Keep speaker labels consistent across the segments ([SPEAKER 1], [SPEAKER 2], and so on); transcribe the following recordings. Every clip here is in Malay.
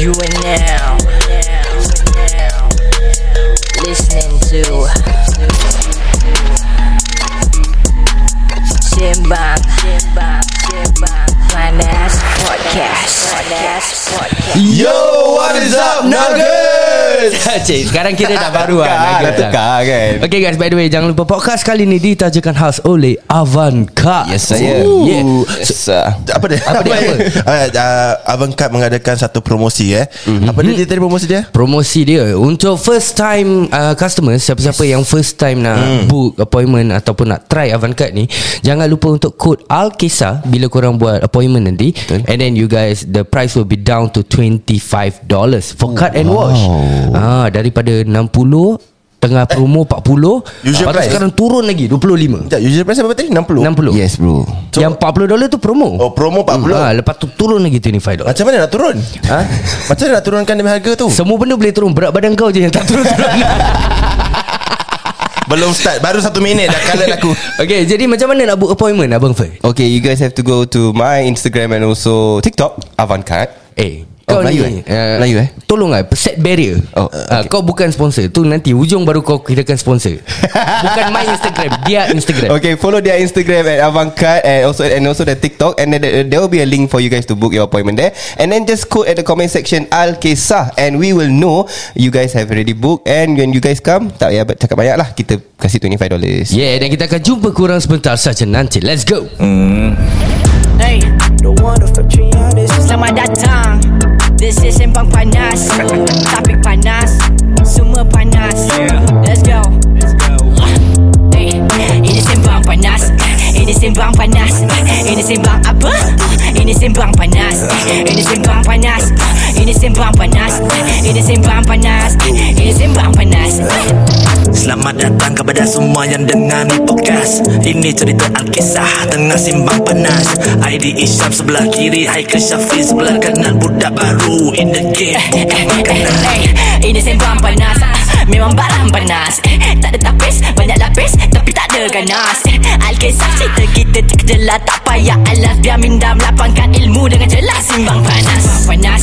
[SPEAKER 1] You are now listening to Simbang Finance Podcast. Finance Podcast.
[SPEAKER 2] Yo, what is up, Nuggets?
[SPEAKER 3] Cik, sekarang kita dah baru
[SPEAKER 2] Tukar,
[SPEAKER 3] lah
[SPEAKER 2] dah tukar kan?
[SPEAKER 3] Okay guys, by the way Jangan lupa podcast kali ni Ditajakan khas oleh Avanca
[SPEAKER 4] Yes, saya.
[SPEAKER 3] Ooh, Yeah.
[SPEAKER 4] Yes, ah.
[SPEAKER 2] Apa dia? Apa
[SPEAKER 3] dia?
[SPEAKER 2] Uh, uh, Avangcard mengadakan satu promosi eh.
[SPEAKER 4] Mhm.
[SPEAKER 2] Mm-hmm. Apa dia, dia tadi promosi dia?
[SPEAKER 3] Promosi dia Untuk first time uh, Customer Siapa-siapa yang first time Nak
[SPEAKER 2] Hmm.
[SPEAKER 3] book appointment Ataupun nak try Avancard ni Jangan lupa untuk Kod Alkisah Bila korang buat appointment nanti Betul. And then you guys The price will be down to $25
[SPEAKER 2] Oh,
[SPEAKER 3] For cut and wash ah, Daripada 60 Tengah promo 40
[SPEAKER 2] Usual
[SPEAKER 3] Lepas tu
[SPEAKER 2] price?
[SPEAKER 3] sekarang turun lagi 25
[SPEAKER 2] Sekejap, usual price berapa tadi? 60?
[SPEAKER 3] 60
[SPEAKER 4] Yes, bro.
[SPEAKER 2] So-
[SPEAKER 3] So, yang 40 dolar tu promo.
[SPEAKER 2] Oh, promo 40.
[SPEAKER 4] Mm,
[SPEAKER 3] Ah, lepas tu turun lagi 25 dolar.
[SPEAKER 2] Macam mana nak turun? Ha? Macam mana nak turunkan demi harga tu?
[SPEAKER 3] Semua benda boleh turun Berat badan kau je Yang tak turun-turun
[SPEAKER 2] Belum start, baru satu minit dah kalah aku.
[SPEAKER 3] Okay jadi macam mana Nak book appointment Abang Fer
[SPEAKER 4] Okay, you guys have to go to my Instagram and also TikTok, Avancard.
[SPEAKER 3] Eh ah,
[SPEAKER 4] Oh, Melayu eh? Melayu eh?
[SPEAKER 3] Tolong lah Set barrier
[SPEAKER 4] Oh,
[SPEAKER 3] Ah, Kau bukan sponsor Tu nanti ujung baru kau kirakan sponsor Bukan my Instagram Dia Instagram
[SPEAKER 4] Okay, follow their Instagram at Avancard and also and also their TikTok and then there, there will be a link for you guys to book your appointment there. And then just quote at the comment section Al Kesah and we will know you guys have already booked and when you guys come tak payah cakap banyak lah kita kasih $25.
[SPEAKER 3] Yeah dan kita akan jumpa Kurang sebentar saja nanti Let's go
[SPEAKER 5] Hey, selamat datang. This is sembang panas. Topik panas, semua panas. Let's go. Ah. Hey, ini sembang panas. Ini sembang panas. Ini sembang apa? Ini sembang panas. Ini sembang panas. Ini sembang panas. Ini sembang panas. Ini sembang panas.
[SPEAKER 6] Selamat datang kepada semua yang dengar ni podcast Ini cerita Alkisah tengah simbang panas ID Isyam sebelah kiri Haikal Syafiq sebelah kanan Budak baru in the game Bukan makanan
[SPEAKER 5] Eh, Ini sembang panas Ah, Memang barang panas Eh, Tak ada tapis Banyak lapis Tapi tak ada ganas Eh, Alkisah cerita kita terkejelah Tak payah alas Biar minda melapangkan ilmu Dengan jelas Simbang panas Sembang panas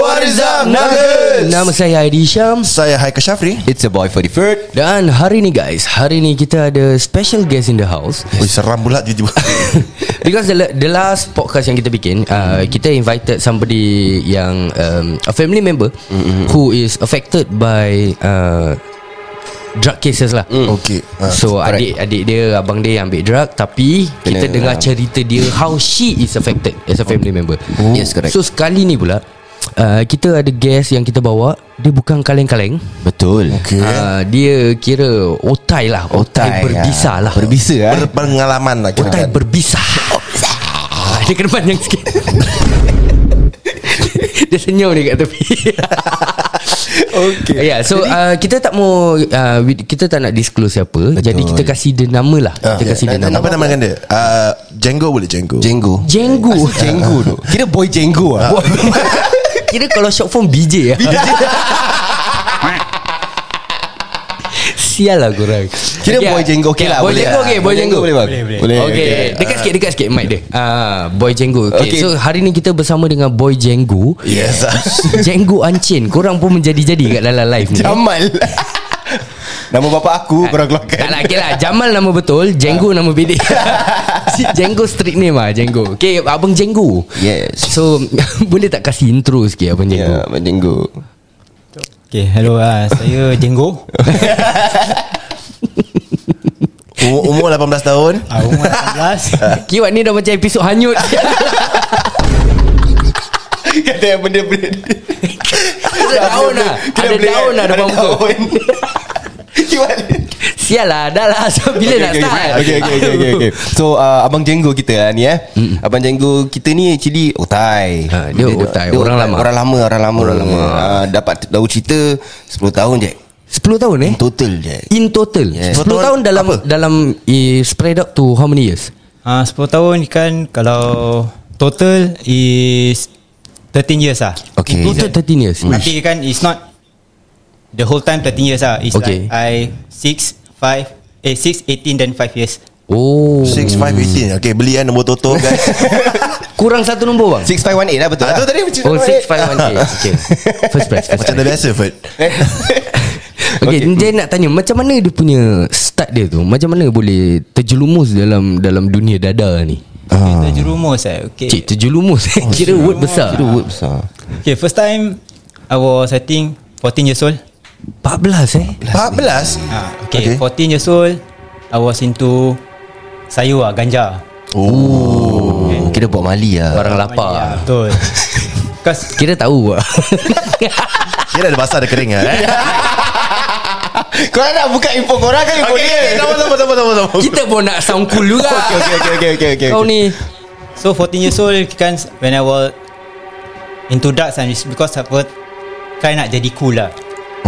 [SPEAKER 2] what is up, Nuggets?
[SPEAKER 3] Nama saya Aidy Syam
[SPEAKER 2] Saya Haikal Shafri.
[SPEAKER 4] It's a boy for the third.
[SPEAKER 3] Dan hari ni guys Hari ni kita ada Special guest in the house
[SPEAKER 2] Ui, seram pula tiba-tiba.
[SPEAKER 3] Because the, the last podcast yang kita bikin uh, Kita invited somebody yang um, A family member mm-hmm. Who is affected by uh, Drug cases lah mm.
[SPEAKER 2] Okay.
[SPEAKER 4] Ah,
[SPEAKER 2] Ha.
[SPEAKER 3] So adik-adik dia Abang dia yang ambil drug Tapi Kena, lah.
[SPEAKER 4] Kena,
[SPEAKER 3] Kita dengar
[SPEAKER 4] ah.
[SPEAKER 3] cerita dia How she is affected As a family member
[SPEAKER 4] Yes, correct.
[SPEAKER 3] So sekali ni pula uh, Kita ada guest yang kita bawa Dia bukan kaleng-kaleng
[SPEAKER 4] Betul.
[SPEAKER 2] Okay.
[SPEAKER 3] uh, Dia kira otai lah Otai, berbisa lah
[SPEAKER 4] Berbisa lah.
[SPEAKER 2] Berpengalaman lah kira kan.
[SPEAKER 3] Otai berbisa Ah, Oh, Dia kena panjang sikit Dia senyum dia kat tepi Ya
[SPEAKER 4] Okay.
[SPEAKER 3] yeah, so uh, kita tak mau uh, we- kita tak nak disclose siapa Betul. jadi kita kasih dia nama lah
[SPEAKER 2] Ah,
[SPEAKER 7] ya.
[SPEAKER 3] kita kasih dia
[SPEAKER 2] na- na-
[SPEAKER 3] nama
[SPEAKER 2] Apa namakan dia? Uh, Django boleh Django.
[SPEAKER 4] Jenggu.
[SPEAKER 3] Jenggu
[SPEAKER 4] Jenggu tu. Kira boy Jenggu ah.
[SPEAKER 3] Kira kalau short form BJ lah Sial lah korang
[SPEAKER 4] Kira boy jenggo okey lah,
[SPEAKER 3] Boy
[SPEAKER 4] boleh
[SPEAKER 3] jenggo
[SPEAKER 4] lah.
[SPEAKER 3] okay Boy jenggo
[SPEAKER 4] Boy jenggo boleh, bang. Boleh, boleh.
[SPEAKER 3] Okay
[SPEAKER 4] Okey.
[SPEAKER 3] Dekat sikit Dekat sikit mic dia Ah, Boy jenggo okay.
[SPEAKER 4] Okey.
[SPEAKER 3] So hari ni kita bersama dengan Boy jenggo
[SPEAKER 2] Yes.
[SPEAKER 3] Jenggo Ancin Korang pun menjadi-jadi Kat dalam live ni
[SPEAKER 4] Jamal. Ah. Nama bapa aku korang keluarkan.
[SPEAKER 3] Tak lah okay lah Jamal nama betul Jenggo nama bedek Si Jenggo street name lah Jenggo Okay Abang Jenggo
[SPEAKER 4] Yes.
[SPEAKER 3] So Boleh tak kasih intro sikit Abang Jenggo
[SPEAKER 4] Ya, Abang Jenggu.
[SPEAKER 8] Okay, hello uh, saya Jenggo.
[SPEAKER 2] Umur, umur 18 tahun.
[SPEAKER 8] Uh, umur 18.
[SPEAKER 3] Kiwat ni dah macam episod hanyut
[SPEAKER 4] Kata yang benda-benda
[SPEAKER 3] Ada daun lah Ada daun lah depan muka Sial lah Dah lah so, Bila nak start
[SPEAKER 4] okay, okay, okay, okay, okay. So uh, Abang Jenggo kita lah ni eh mm. Abang Jenggo kita ni oh, actually Otai
[SPEAKER 3] Ha, dia otai, orang lama.
[SPEAKER 4] Orang lama Orang lama, orang lama. Uh, Dapat tahu cerita 10 tahun je
[SPEAKER 3] 10 tahun eh
[SPEAKER 4] Total je
[SPEAKER 3] In total
[SPEAKER 4] Yes.
[SPEAKER 3] 10 tahun dalam Dalam eh, Spread out to how
[SPEAKER 8] Ah,
[SPEAKER 3] many years
[SPEAKER 8] Uh, 10 tahun kan kalau total is 13 13 years lah
[SPEAKER 3] Okay. Go to 13 years.
[SPEAKER 8] Tapi kan it's not The whole time 13 years lah It's
[SPEAKER 3] Okay.
[SPEAKER 8] like I 6, 5 Eh 6, 18 then 5 years
[SPEAKER 3] Oh.
[SPEAKER 2] 6518 Okay beli kan nombor Toto guys
[SPEAKER 3] Kurang satu nombor bang.
[SPEAKER 4] 6518 lah betul
[SPEAKER 2] Ah,
[SPEAKER 4] lah
[SPEAKER 2] tu tadi macam
[SPEAKER 3] Oh, 651K. Okay. First prize. First
[SPEAKER 2] Macam dah
[SPEAKER 3] prize.
[SPEAKER 2] biasa Ferd
[SPEAKER 3] Okay, okay, dia nak tanya macam mana dia punya start dia tu? Macam mana boleh terjerumus dalam dalam dunia dada ni?
[SPEAKER 8] Okay, terjerumus eh. Okay.
[SPEAKER 3] Ah. Cik, terjerumus. Oh, kira word besar. Kira word besar.
[SPEAKER 8] okay, first time I was I think 14 years old.
[SPEAKER 3] 14 eh?
[SPEAKER 2] 14
[SPEAKER 8] Ah, okay, okay, 14 years old I was into sayur ah, ganja.
[SPEAKER 9] Oh, Kira buat mali lah
[SPEAKER 3] Orang
[SPEAKER 8] Ah,
[SPEAKER 3] lapar.
[SPEAKER 8] betul. Cause
[SPEAKER 3] Kira tahu lah.
[SPEAKER 2] Kira ada basah ada kering lah eh?
[SPEAKER 4] Kau nak buka info korang kan info
[SPEAKER 2] Okay
[SPEAKER 4] dia
[SPEAKER 2] Sama sama sama sama sama.
[SPEAKER 3] Kita pun nak sound cool juga.
[SPEAKER 4] Okay okay okay okay okay, okay.
[SPEAKER 3] Kau ni.
[SPEAKER 8] So 14 years old kan When I was Into drugs and it's Because I was Try nak jadi cool lah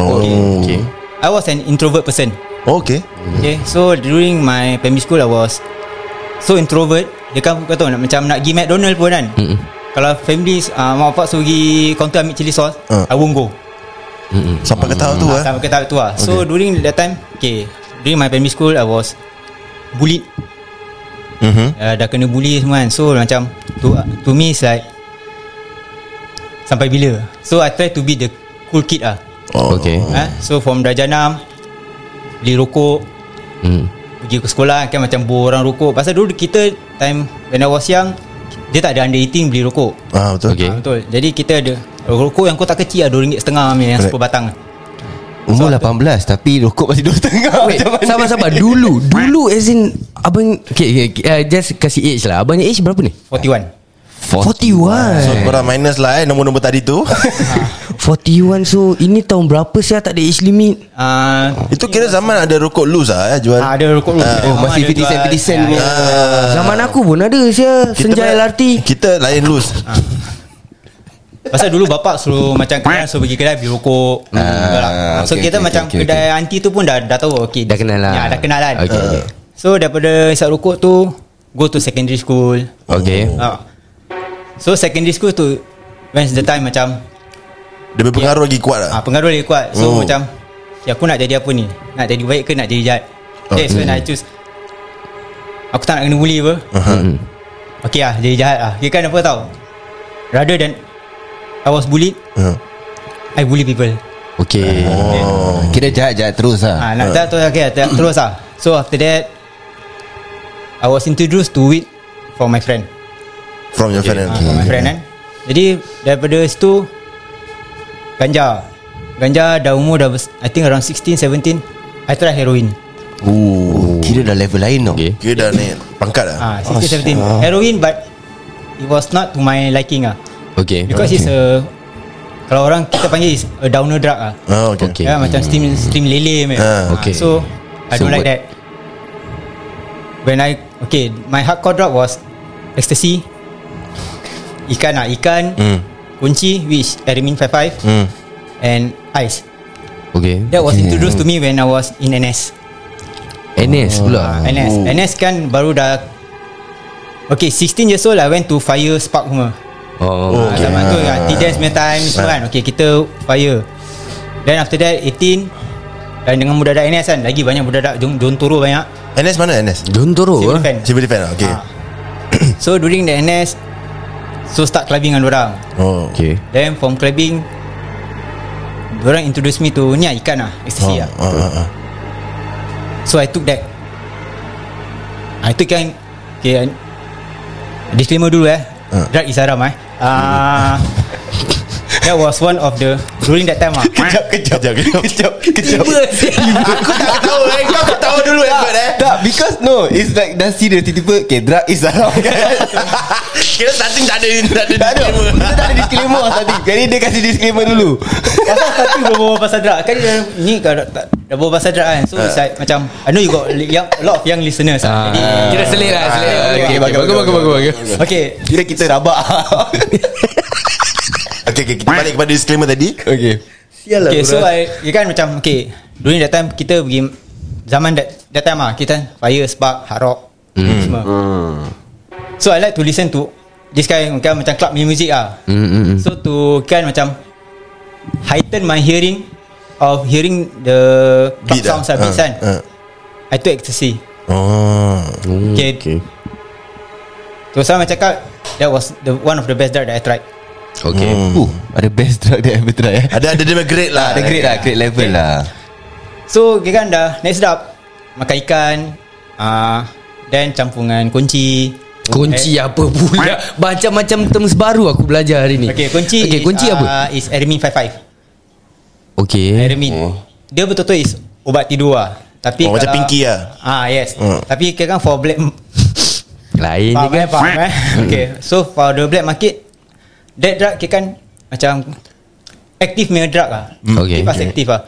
[SPEAKER 2] Oh Okay
[SPEAKER 8] I was an introvert person
[SPEAKER 2] Okay
[SPEAKER 8] Okay So during my primary school I was So introvert Dia kan kau tahu nak, Macam nak pergi McDonald pun kan Mm-mm. Kalau family uh, Mak bapak suruh pergi Counter ambil chili sauce
[SPEAKER 2] Ah.
[SPEAKER 8] I won't go
[SPEAKER 2] Sampai ke tahap tu eh
[SPEAKER 8] ah, Sampai ke tahap tu lah So during that time Okay During my primary school I was Bullied
[SPEAKER 2] Mhm.
[SPEAKER 8] uh, Dah kena bully semua kan So macam To, to me it's like Sampai bila So I try to be the Cool kid lah
[SPEAKER 2] Oh,
[SPEAKER 3] Okay.
[SPEAKER 8] oh. ha? So from darjah 6 Beli rokok
[SPEAKER 3] Hmm.
[SPEAKER 8] Pergi ke sekolah kan Macam bawa orang rokok Pasal dulu kita Time When I was young Dia tak ada under 18 Beli rokok
[SPEAKER 2] Ah betul.
[SPEAKER 9] Eh?
[SPEAKER 3] Okay.
[SPEAKER 8] okay. ha, Betul Jadi kita ada Rokok yang kotak kecil lah RM2.5 Yang
[SPEAKER 2] Correct.
[SPEAKER 8] 10 batang
[SPEAKER 9] Umur 18 Tapi rokok masih 2 tengah
[SPEAKER 3] Wait,
[SPEAKER 9] Macam mana
[SPEAKER 3] sabar-sabar. Dulu, dulu as in abang okay, okay uh, just kasih age lah. Abang age berapa ni?
[SPEAKER 8] 41
[SPEAKER 2] So
[SPEAKER 3] 41.
[SPEAKER 2] korang minus lah eh Nombor-nombor tadi tu
[SPEAKER 3] 41 so ini tahun berapa saya tak ada age limit?
[SPEAKER 8] uh,
[SPEAKER 2] Itu kira zaman ada rokok loose lah eh Jual
[SPEAKER 8] Ah, ada Ya, rokok rokok.
[SPEAKER 9] Oh masih 50 cent 50 cent punya
[SPEAKER 3] Uh, Zaman aku pun ada saya senja
[SPEAKER 2] pernah-
[SPEAKER 3] LRT.
[SPEAKER 2] Kita lain loose
[SPEAKER 8] Pasal dulu bapak suruh macam kadang suruh pergi kedai beli
[SPEAKER 3] Ah,
[SPEAKER 8] rokok. Betul tak? so
[SPEAKER 9] okay,
[SPEAKER 8] kita
[SPEAKER 9] okay,
[SPEAKER 8] macam
[SPEAKER 9] okay, okay,
[SPEAKER 8] kedai anti tu pun dah dah tahu okey.
[SPEAKER 3] Dah kenal lah.
[SPEAKER 8] Ya, dah kenal kan.
[SPEAKER 3] Okay, okay.
[SPEAKER 8] So daripada hisap rokok tu go to secondary school.
[SPEAKER 3] Okay.
[SPEAKER 8] Ah. So secondary school tu when's the time macam
[SPEAKER 2] Dia punya pengaruh lagi kuat lah
[SPEAKER 8] ah pengaruh lagi kuat. So
[SPEAKER 2] Oh.
[SPEAKER 8] macam okay, aku nak jadi apa ni? Nak jadi baik ke nak jadi jahat? Okay, so when I choose aku tak nak kena bully apa.
[SPEAKER 3] Hmm.
[SPEAKER 8] Okay lah jadi jahat lah. Okay kan apa tau? Rather than I was bullied,
[SPEAKER 2] Ah.
[SPEAKER 8] I bully people.
[SPEAKER 3] Okay.
[SPEAKER 2] Oh
[SPEAKER 9] Kira jahat-jahat terus lah
[SPEAKER 8] Ah, nak tak terus okay, tak terus ah. So after that I was introduced to it from my friend.
[SPEAKER 2] From your
[SPEAKER 8] Ah,
[SPEAKER 2] friend
[SPEAKER 8] from my friend kan. Jadi daripada situ ganja. Ganja dah umur dah bes- I think around 16 17 I try heroin.
[SPEAKER 9] Oh, Kira dah level lain tau
[SPEAKER 3] Okay.
[SPEAKER 2] Kira dah ni Pangkat lah
[SPEAKER 8] Ah 16 17 heroin but it was not to my liking ah.
[SPEAKER 3] Okay.
[SPEAKER 8] Because it's a kalau orang kita panggil is a downer drug ah.
[SPEAKER 2] Ah, okay.
[SPEAKER 3] Okay.
[SPEAKER 8] Okay. Ya, macam steam steam lele meh.
[SPEAKER 2] Ah,
[SPEAKER 3] okay.
[SPEAKER 8] So I
[SPEAKER 3] So
[SPEAKER 8] don't like
[SPEAKER 3] what-
[SPEAKER 8] that. When I okay, my hardcore drug was ecstasy. Ikan ah, ikan. Mm. Kunci which Aramin 55 mm. and ice.
[SPEAKER 3] Okay.
[SPEAKER 8] That was introduced to me when I was in NS.
[SPEAKER 3] NS
[SPEAKER 8] Ah,
[SPEAKER 3] pula.
[SPEAKER 8] NS. NS kan baru dah Okay 16 years old I went to fire spark semua
[SPEAKER 3] Oh.
[SPEAKER 8] okay. Zaman tu kan T-Dance punya time Semua kan Okay kita fire Then after that 18 Dan dengan budak-budak NS kan Lagi banyak budak-budak Jom, jom turun banyak
[SPEAKER 2] NS mana NS?
[SPEAKER 3] Don't
[SPEAKER 8] Civil
[SPEAKER 3] throw ah.
[SPEAKER 8] defense.
[SPEAKER 2] Civil defense lah Okay
[SPEAKER 8] Ah. So during the NS So start clubbing dengan orang.
[SPEAKER 2] Oh
[SPEAKER 3] Okay.
[SPEAKER 8] Then from clubbing orang introduce me to Ni lah ikan lah
[SPEAKER 7] Oh.
[SPEAKER 8] Ecstasy lah
[SPEAKER 2] Ah, ah, ah.
[SPEAKER 8] So I took that I took kan Okay I- Disclaimer dulu eh uh. Drug is haram eh uh, That was one of the During that time ah.
[SPEAKER 2] Kejap kejap Kejap kejap Kejap kejap Aku tak tahu eh Kau tahu dulu effort eh
[SPEAKER 4] Tak because no It's like dah serious Tiba-tiba Okay drug is haram kan
[SPEAKER 2] Kira starting tak ada Tak ada
[SPEAKER 4] Tak ada Kita tak ada disclaimer tadi Jadi dia kasih disclaimer dulu
[SPEAKER 8] Pasal tapi berbual pasal drug Kan dia ni kau dah, tak, dah berbual pasal drug kan So it's like macam I know you got li- young, a lot of young listeners ah. Jadi
[SPEAKER 3] Kira selit lah, selit.
[SPEAKER 4] Ah, okay, bagus, bagus, bagus,
[SPEAKER 8] Okay
[SPEAKER 4] Kira kita rabak
[SPEAKER 2] Okay okay Kita balik kepada disclaimer tadi
[SPEAKER 4] Okay
[SPEAKER 8] Okay so I You kan macam Okay During that time Kita pergi Zaman that, that ah, kan, time lah Kita fire, spark, hard rock Semua So I like to listen to This guy kan macam club punya music ah.
[SPEAKER 3] Mm, mm, mm.
[SPEAKER 8] So to kan macam heighten my hearing of hearing the club
[SPEAKER 2] Beat lah.
[SPEAKER 8] sounds ah, beats
[SPEAKER 2] Ah,
[SPEAKER 8] kan.
[SPEAKER 2] ah.
[SPEAKER 8] I took ecstasy.
[SPEAKER 2] Oh
[SPEAKER 3] Mm,
[SPEAKER 8] Okay.
[SPEAKER 3] Hmm,
[SPEAKER 8] okay. So sama cakap that was the one of the best drug that I tried.
[SPEAKER 3] Okay
[SPEAKER 4] Uh, ada best drug that I ever
[SPEAKER 3] ya?
[SPEAKER 4] try eh.
[SPEAKER 2] Ada ada dia punya grade lah
[SPEAKER 4] Ada grade lah, grade level lah.
[SPEAKER 8] So kita kan dah naik sedap makan ikan ah then campungan kunci. Eh.
[SPEAKER 3] Kunci apa pula Macam-macam terms baru aku belajar hari ni
[SPEAKER 8] Okay, kunci.
[SPEAKER 3] Okay
[SPEAKER 8] is,
[SPEAKER 3] kunci
[SPEAKER 8] ah,
[SPEAKER 3] apa Hmm.
[SPEAKER 8] Is Aramin 55.
[SPEAKER 3] Okay
[SPEAKER 8] Aramin. Dia betul-betul is obat tidur lah. Tapi
[SPEAKER 2] Oh, macam
[SPEAKER 8] kalau-
[SPEAKER 2] pinky lah.
[SPEAKER 8] Ah, yes.
[SPEAKER 2] Hmm.
[SPEAKER 8] Tapi kira kan for black
[SPEAKER 3] Lain
[SPEAKER 8] faham
[SPEAKER 3] juga
[SPEAKER 8] eh, faham eh. Okay, so for the black market, that drug kira kan macam aktif punya drug lah.
[SPEAKER 3] Hmm. Okay.
[SPEAKER 8] Kipas aktif lah.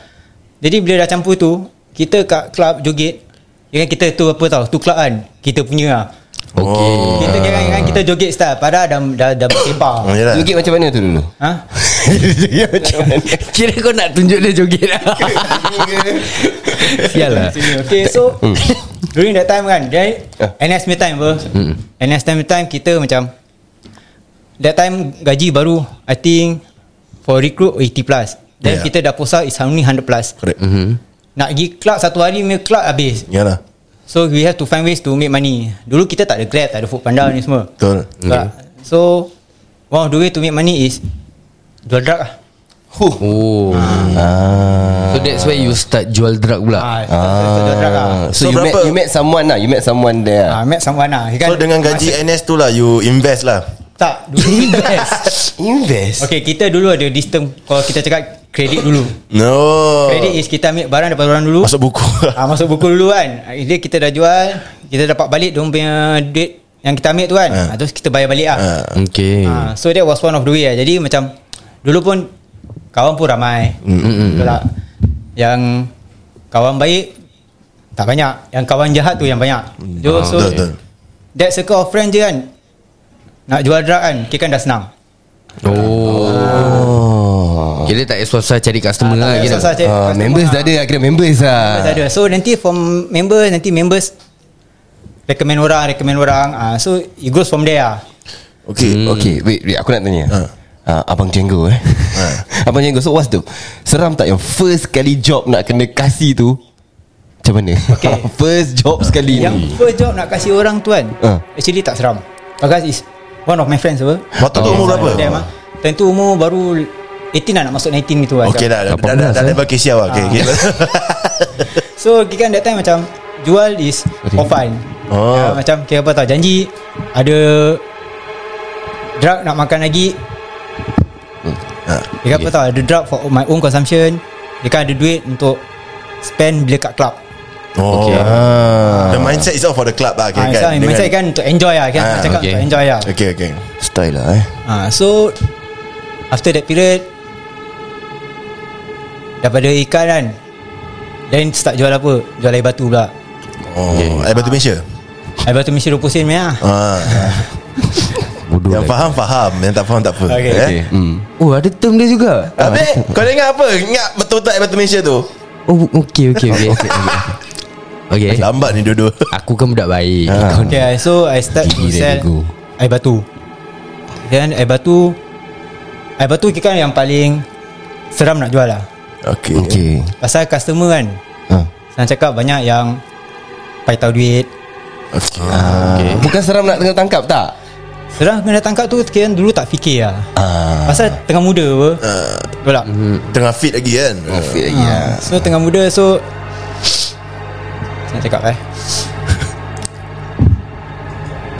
[SPEAKER 8] Jadi bila dah campur tu, kita kat club joget, kira kan kita tu apa tau, tu club kan, kita punya lah.
[SPEAKER 3] Okay
[SPEAKER 8] Kita kira kan kita joget style, padahal dah, dah, dah bersebar.
[SPEAKER 2] Oh, yelah.
[SPEAKER 3] ya.
[SPEAKER 4] Joget macam mana tu dulu?
[SPEAKER 8] ha?
[SPEAKER 4] Joget macam mana?
[SPEAKER 3] Kira kau nak tunjuk dia joget lah Sial lah
[SPEAKER 8] Okay so
[SPEAKER 2] Hmm.
[SPEAKER 8] During that time kan Dia NS punya time apa
[SPEAKER 2] Hmm.
[SPEAKER 8] NS time time Kita macam That time Gaji baru I think For recruit 80 plus Then
[SPEAKER 2] Yeah.
[SPEAKER 8] kita dah posa Is only 100 plus
[SPEAKER 2] Correct Mm-hmm.
[SPEAKER 8] Nak pergi club Satu hari punya club habis
[SPEAKER 2] Yalah
[SPEAKER 8] So we have to find ways To make money Dulu kita tak ada grab Tak ada food panda ni semua
[SPEAKER 2] Betul
[SPEAKER 8] Tak. So One of the way to make money is Jual drug lah
[SPEAKER 3] Oh Ah. So that's where you start jual drug pula
[SPEAKER 8] ah, so Jual drug lah
[SPEAKER 4] So, so
[SPEAKER 2] So,
[SPEAKER 4] you met
[SPEAKER 2] berapa-
[SPEAKER 4] you met someone lah, you met someone there. lah.
[SPEAKER 8] Ah, met someone lah
[SPEAKER 2] So dengan gaji NS tu lah You invest lah
[SPEAKER 8] Tak Dulu kita
[SPEAKER 4] Invest.
[SPEAKER 8] Okay kita dulu ada this term Kalau kita cakap Kredit dulu
[SPEAKER 2] No
[SPEAKER 8] Kredit is kita ambil barang Daripada orang dulu
[SPEAKER 2] Masuk buku lah
[SPEAKER 8] ah, Masuk buku dulu kan Ah, Dia kita dah jual Kita dapat balik Dia punya duit Yang kita ambil tu kan
[SPEAKER 2] Ah.
[SPEAKER 8] ah, Terus kita bayar balik lah
[SPEAKER 2] Ah.
[SPEAKER 3] Okay
[SPEAKER 8] ah, So that was one of the way lah Jadi macam Dulu pun Kawan pun ramai
[SPEAKER 2] Mm,
[SPEAKER 8] Betul tak? Yang Kawan baik Tak banyak Yang kawan jahat tu yang banyak so, so
[SPEAKER 2] Mm, Ah, Betul betul
[SPEAKER 8] That circle of friends je kan Nak jual drug kan Kita kan dah senang Ah.
[SPEAKER 3] Oh Kira tak payah susah cari customer lah
[SPEAKER 8] Tak payah
[SPEAKER 3] kira
[SPEAKER 8] susah cari
[SPEAKER 4] Ah,
[SPEAKER 8] customer
[SPEAKER 4] members
[SPEAKER 8] lah.
[SPEAKER 4] dah ada, kira members
[SPEAKER 2] Ah.
[SPEAKER 8] Members
[SPEAKER 4] lah.
[SPEAKER 8] ada So nanti from members Nanti members Recommend orang Recommend orang ah So it goes from there lah
[SPEAKER 2] Okay
[SPEAKER 4] Okay, wait, wait, aku nak tanya.
[SPEAKER 2] Ah.
[SPEAKER 4] Ah, Abang Jenggo eh. Abang Jenggo, so what's the seram tak yang first kali job nak kena kasih tu? Macam mana?
[SPEAKER 8] Okay.
[SPEAKER 4] first job
[SPEAKER 2] Hmm.
[SPEAKER 4] sekali
[SPEAKER 8] Yang
[SPEAKER 4] ni.
[SPEAKER 8] first job nak kasih orang tu kan
[SPEAKER 4] Ah.
[SPEAKER 8] Actually tak seram Bagas is One of my friends apa
[SPEAKER 2] Waktu tu umur berapa?
[SPEAKER 8] Them, ah. Time tu umur baru 18 lah nak masuk 19 gitu lah
[SPEAKER 2] Okay dah Dah dah-
[SPEAKER 3] 18,
[SPEAKER 2] dah- dah
[SPEAKER 3] eh?
[SPEAKER 2] level Kesia lah Okay okay
[SPEAKER 8] So kita kan that time macam Jual is for fun
[SPEAKER 2] Oh.
[SPEAKER 8] Ya, Macam kira apa tau Janji Ada Drug nak makan lagi
[SPEAKER 2] Ah,
[SPEAKER 8] Dia okay. apa tau Ada drug for my own consumption Dia kan ada duit untuk Spend bila kat club
[SPEAKER 2] Oh
[SPEAKER 3] Okay.
[SPEAKER 2] The mindset is all for the club lah
[SPEAKER 8] okay,
[SPEAKER 2] okay,
[SPEAKER 8] ha, kan,
[SPEAKER 2] Dengan-
[SPEAKER 8] Mindset kan untuk enjoy lah kan,
[SPEAKER 2] Ah,
[SPEAKER 8] Macam cakap
[SPEAKER 3] okay.
[SPEAKER 8] untuk enjoy lah
[SPEAKER 2] Okay okay
[SPEAKER 4] Style lah eh.
[SPEAKER 8] ha, So After that period Daripada ikan kan Then start jual apa Jual air batu pula
[SPEAKER 2] Oh Air batu Malaysia
[SPEAKER 8] Air batu mesti 20 sen punya lah
[SPEAKER 2] Ah, Yang
[SPEAKER 7] lah.
[SPEAKER 2] faham faham Yang tak faham tak apa
[SPEAKER 8] Okay,
[SPEAKER 2] eh?
[SPEAKER 8] okay.
[SPEAKER 3] Oh ada term dia juga
[SPEAKER 2] Habis kau dengar apa Ingat betul-betul air batu Malaysia tu
[SPEAKER 3] Oh okay okay okay Okay
[SPEAKER 2] Lambat ni dua-dua
[SPEAKER 3] Aku kan budak baik Kau ni
[SPEAKER 8] Okay so I start to
[SPEAKER 4] Gila
[SPEAKER 8] sell
[SPEAKER 4] ego.
[SPEAKER 8] Air batu Then air batu Air batu kan yang paling Seram nak jual lah
[SPEAKER 2] Okay
[SPEAKER 4] Okay.
[SPEAKER 8] Pasal customer kan
[SPEAKER 4] Ah.
[SPEAKER 8] Senang cakap banyak yang Paitau duit
[SPEAKER 2] Okay
[SPEAKER 4] Ah, Bukan seram nak tengah tangkap tak?
[SPEAKER 8] Sekarang kena tangkap tu Kira dulu tak fikir lah
[SPEAKER 4] Ah.
[SPEAKER 8] Pasal tengah muda apa Betul tak
[SPEAKER 7] Hmm.
[SPEAKER 8] Ya.
[SPEAKER 2] Tengah fit lagi kan
[SPEAKER 4] Fit lagi ah.
[SPEAKER 8] So tengah muda so Senang cakap eh
[SPEAKER 2] Ah.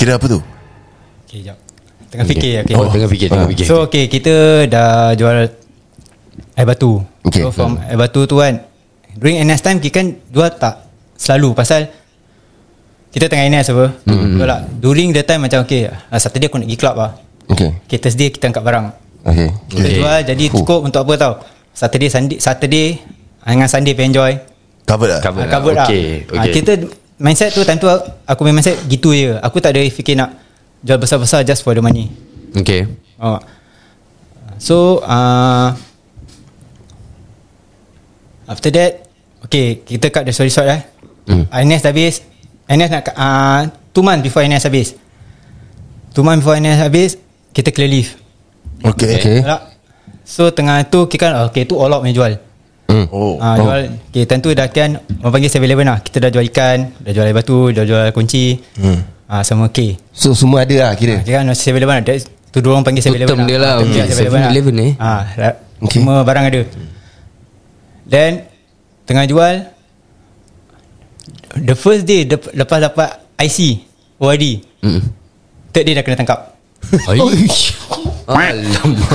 [SPEAKER 2] Kira apa tu
[SPEAKER 8] Okay jap Tengah fikir okay.
[SPEAKER 3] Oh tengah fikir Tengah fikir
[SPEAKER 8] So okay kita dah jual Air batu
[SPEAKER 4] Okay.
[SPEAKER 8] So from air batu tu kan During NS time kita kan jual tak Selalu pasal Kita tengah NS apa
[SPEAKER 3] Mm-hmm.
[SPEAKER 8] Betul tak During the time macam okay ah, Saturday aku nak pergi club lah
[SPEAKER 4] Okay.
[SPEAKER 8] Okay Thursday kita angkat barang
[SPEAKER 4] Okay.
[SPEAKER 8] Kita
[SPEAKER 3] Okay.
[SPEAKER 8] jual jadi cukup untuk apa tau Saturday Sunday Saturday ah, dengan Sunday pay enjoy
[SPEAKER 2] Covered lah
[SPEAKER 3] Cover
[SPEAKER 8] Ah, covered lah
[SPEAKER 3] Okay,
[SPEAKER 8] Ah,
[SPEAKER 3] okay.
[SPEAKER 8] Kita mindset tu time tu Aku punya mindset gitu je Aku tak ada fikir nak Jual besar-besar just for the money
[SPEAKER 3] Okay
[SPEAKER 8] oh. So uh, After that Okay kita cut the story short eh
[SPEAKER 3] Hmm.
[SPEAKER 8] mm. NS dah habis NS nak uh, Two months before NS habis Two months before NS habis Kita clear leave
[SPEAKER 2] Okay.
[SPEAKER 3] Okay.
[SPEAKER 8] Alak. So tengah tu Kita kan Okay tu all out punya jual
[SPEAKER 2] Oh.
[SPEAKER 8] Ah, jual okay, Time tu dah kan Orang panggil 7-Eleven lah Kita dah jual ikan Dah jual air batu Dah jual kunci hmm. ah, Sama okay
[SPEAKER 4] So semua ada lah kira
[SPEAKER 8] Dia kan 7-Eleven lah That's- Tu dua orang panggil
[SPEAKER 3] Tu
[SPEAKER 8] 7-Eleven
[SPEAKER 3] term dia lah.
[SPEAKER 8] Ah, term
[SPEAKER 3] Okay, 7-Eleven eh.
[SPEAKER 8] ah, ra- Semua barang ada Then Tengah jual The first day dep- Lepas dapat IC OID
[SPEAKER 3] Mm.
[SPEAKER 8] Third day dah kena tangkap
[SPEAKER 3] Aish. Alamak.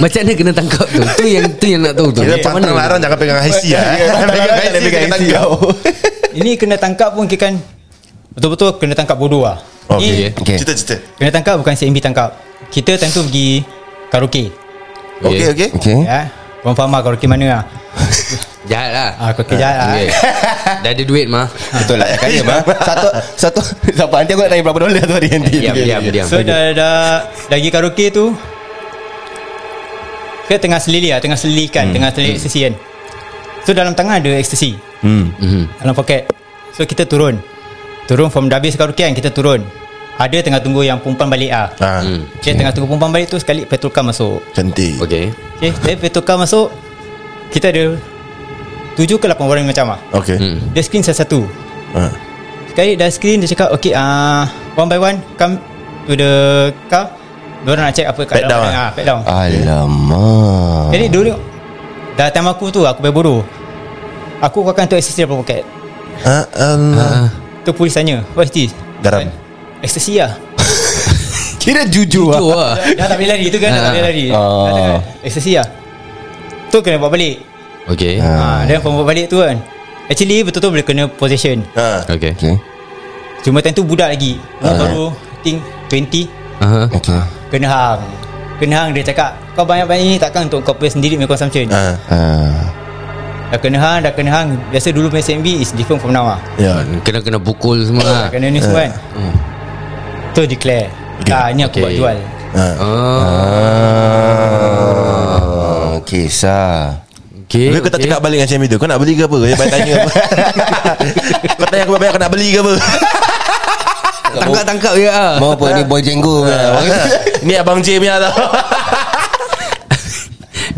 [SPEAKER 3] Macam mana kena tangkap tu? Tu yang tu yang nak tahu tu.
[SPEAKER 2] Kira
[SPEAKER 3] Macam
[SPEAKER 2] pantang larang jangan pegang IC lah. eh. Pegang IC pegang IC.
[SPEAKER 8] Ini kena tangkap pun kita kan Betul-betul kena tangkap bodoh lah
[SPEAKER 2] Okay.
[SPEAKER 8] Ni
[SPEAKER 4] Okay.
[SPEAKER 2] Cerita-cerita.
[SPEAKER 8] Kena tangkap bukan CMB tangkap Kita time tu pergi Karaoke
[SPEAKER 2] Okay, okay.
[SPEAKER 4] Okay
[SPEAKER 3] Hmm?
[SPEAKER 8] Ya Korang faham lah karaoke mana lah
[SPEAKER 3] Jahat lah.
[SPEAKER 8] Ah, kau kejap lah.
[SPEAKER 3] Okay. Dah ada duit mah.
[SPEAKER 4] Betul lah Kaya mah Satu Satu Siapa nanti aku nak tanya berapa dolar tu hari nanti
[SPEAKER 3] Diam, diam, diam.
[SPEAKER 8] So dah, dah Lagi karaoke tu Kita tengah selili lah Tengah
[SPEAKER 3] Hmm.
[SPEAKER 8] selikan Tengah selilik ecstasy kan So dalam tangan ada ecstasy
[SPEAKER 2] Hmm.
[SPEAKER 3] Mhm.
[SPEAKER 8] Dalam poket So kita turun Turun from dah habis karaoke kan Kita turun Ada tengah tunggu yang perempuan balik lah
[SPEAKER 2] Ah,
[SPEAKER 3] Hmm.
[SPEAKER 8] Okay, tengah tunggu perempuan balik tu Sekali petrol car masuk
[SPEAKER 2] cantik.
[SPEAKER 3] Okay.
[SPEAKER 8] Okay Tapi petrol car masuk Kita ada Tujuh ke lapan orang macam lah
[SPEAKER 2] Okay.
[SPEAKER 8] Dia screen satu-satu
[SPEAKER 2] Ah.
[SPEAKER 8] Sekali dah screen Dia cakap Okay uh, One by one Come to the car Diorang nak check apa kat
[SPEAKER 2] Pat down
[SPEAKER 8] ah,
[SPEAKER 2] ah?
[SPEAKER 8] Pat down
[SPEAKER 4] Alamak
[SPEAKER 8] Jadi dulu Dah time aku tu Aku bayar bodoh Aku keluarkan tu ecstasy dalam poket
[SPEAKER 2] Ah, Allah.
[SPEAKER 8] Tu polis tanya What is this?
[SPEAKER 2] Garam.
[SPEAKER 8] Ecstasy lah
[SPEAKER 4] Kira jujur
[SPEAKER 3] Tu lah.
[SPEAKER 8] Dah tak boleh lari Tu kan dah tak boleh lari
[SPEAKER 2] Ah.
[SPEAKER 8] Dah cakap, Ecstasy lah Tu kena bawa balik
[SPEAKER 3] Okay.
[SPEAKER 2] Ah.
[SPEAKER 8] ha, Dan pembawa balik tu kan Actually betul-betul boleh kena possession
[SPEAKER 2] Ah.
[SPEAKER 3] Okay.
[SPEAKER 8] Cuma time tu budak lagi Umur baru I think 20
[SPEAKER 3] Aha.
[SPEAKER 4] Okay
[SPEAKER 8] Kena hang Kena hang dia cakap Kau banyak-banyak ni takkan untuk kau punya sendiri punya consumption uh.
[SPEAKER 2] Ah.
[SPEAKER 8] Dah kena hang, dah kena hang Biasa dulu punya SMB is different from now lah
[SPEAKER 2] Ya.
[SPEAKER 3] Kena kena pukul semua lah.
[SPEAKER 8] uh. Kena ni semua kan Tu declare Dah ni aku
[SPEAKER 3] Okay.
[SPEAKER 8] buat jual
[SPEAKER 2] Ha.
[SPEAKER 3] Ah.
[SPEAKER 4] Ah, Kisah
[SPEAKER 3] Okay.
[SPEAKER 2] Tapi kau tak cakap balik dengan Syamil tu Kau nak beli ke apa Kau banyak tanya apa Kau tanya aku banyak Kau nak beli ke apa
[SPEAKER 3] Tangkap tangkap je ah.
[SPEAKER 4] Mau apa ni boy jenggo ke?
[SPEAKER 2] Ni abang J punya tau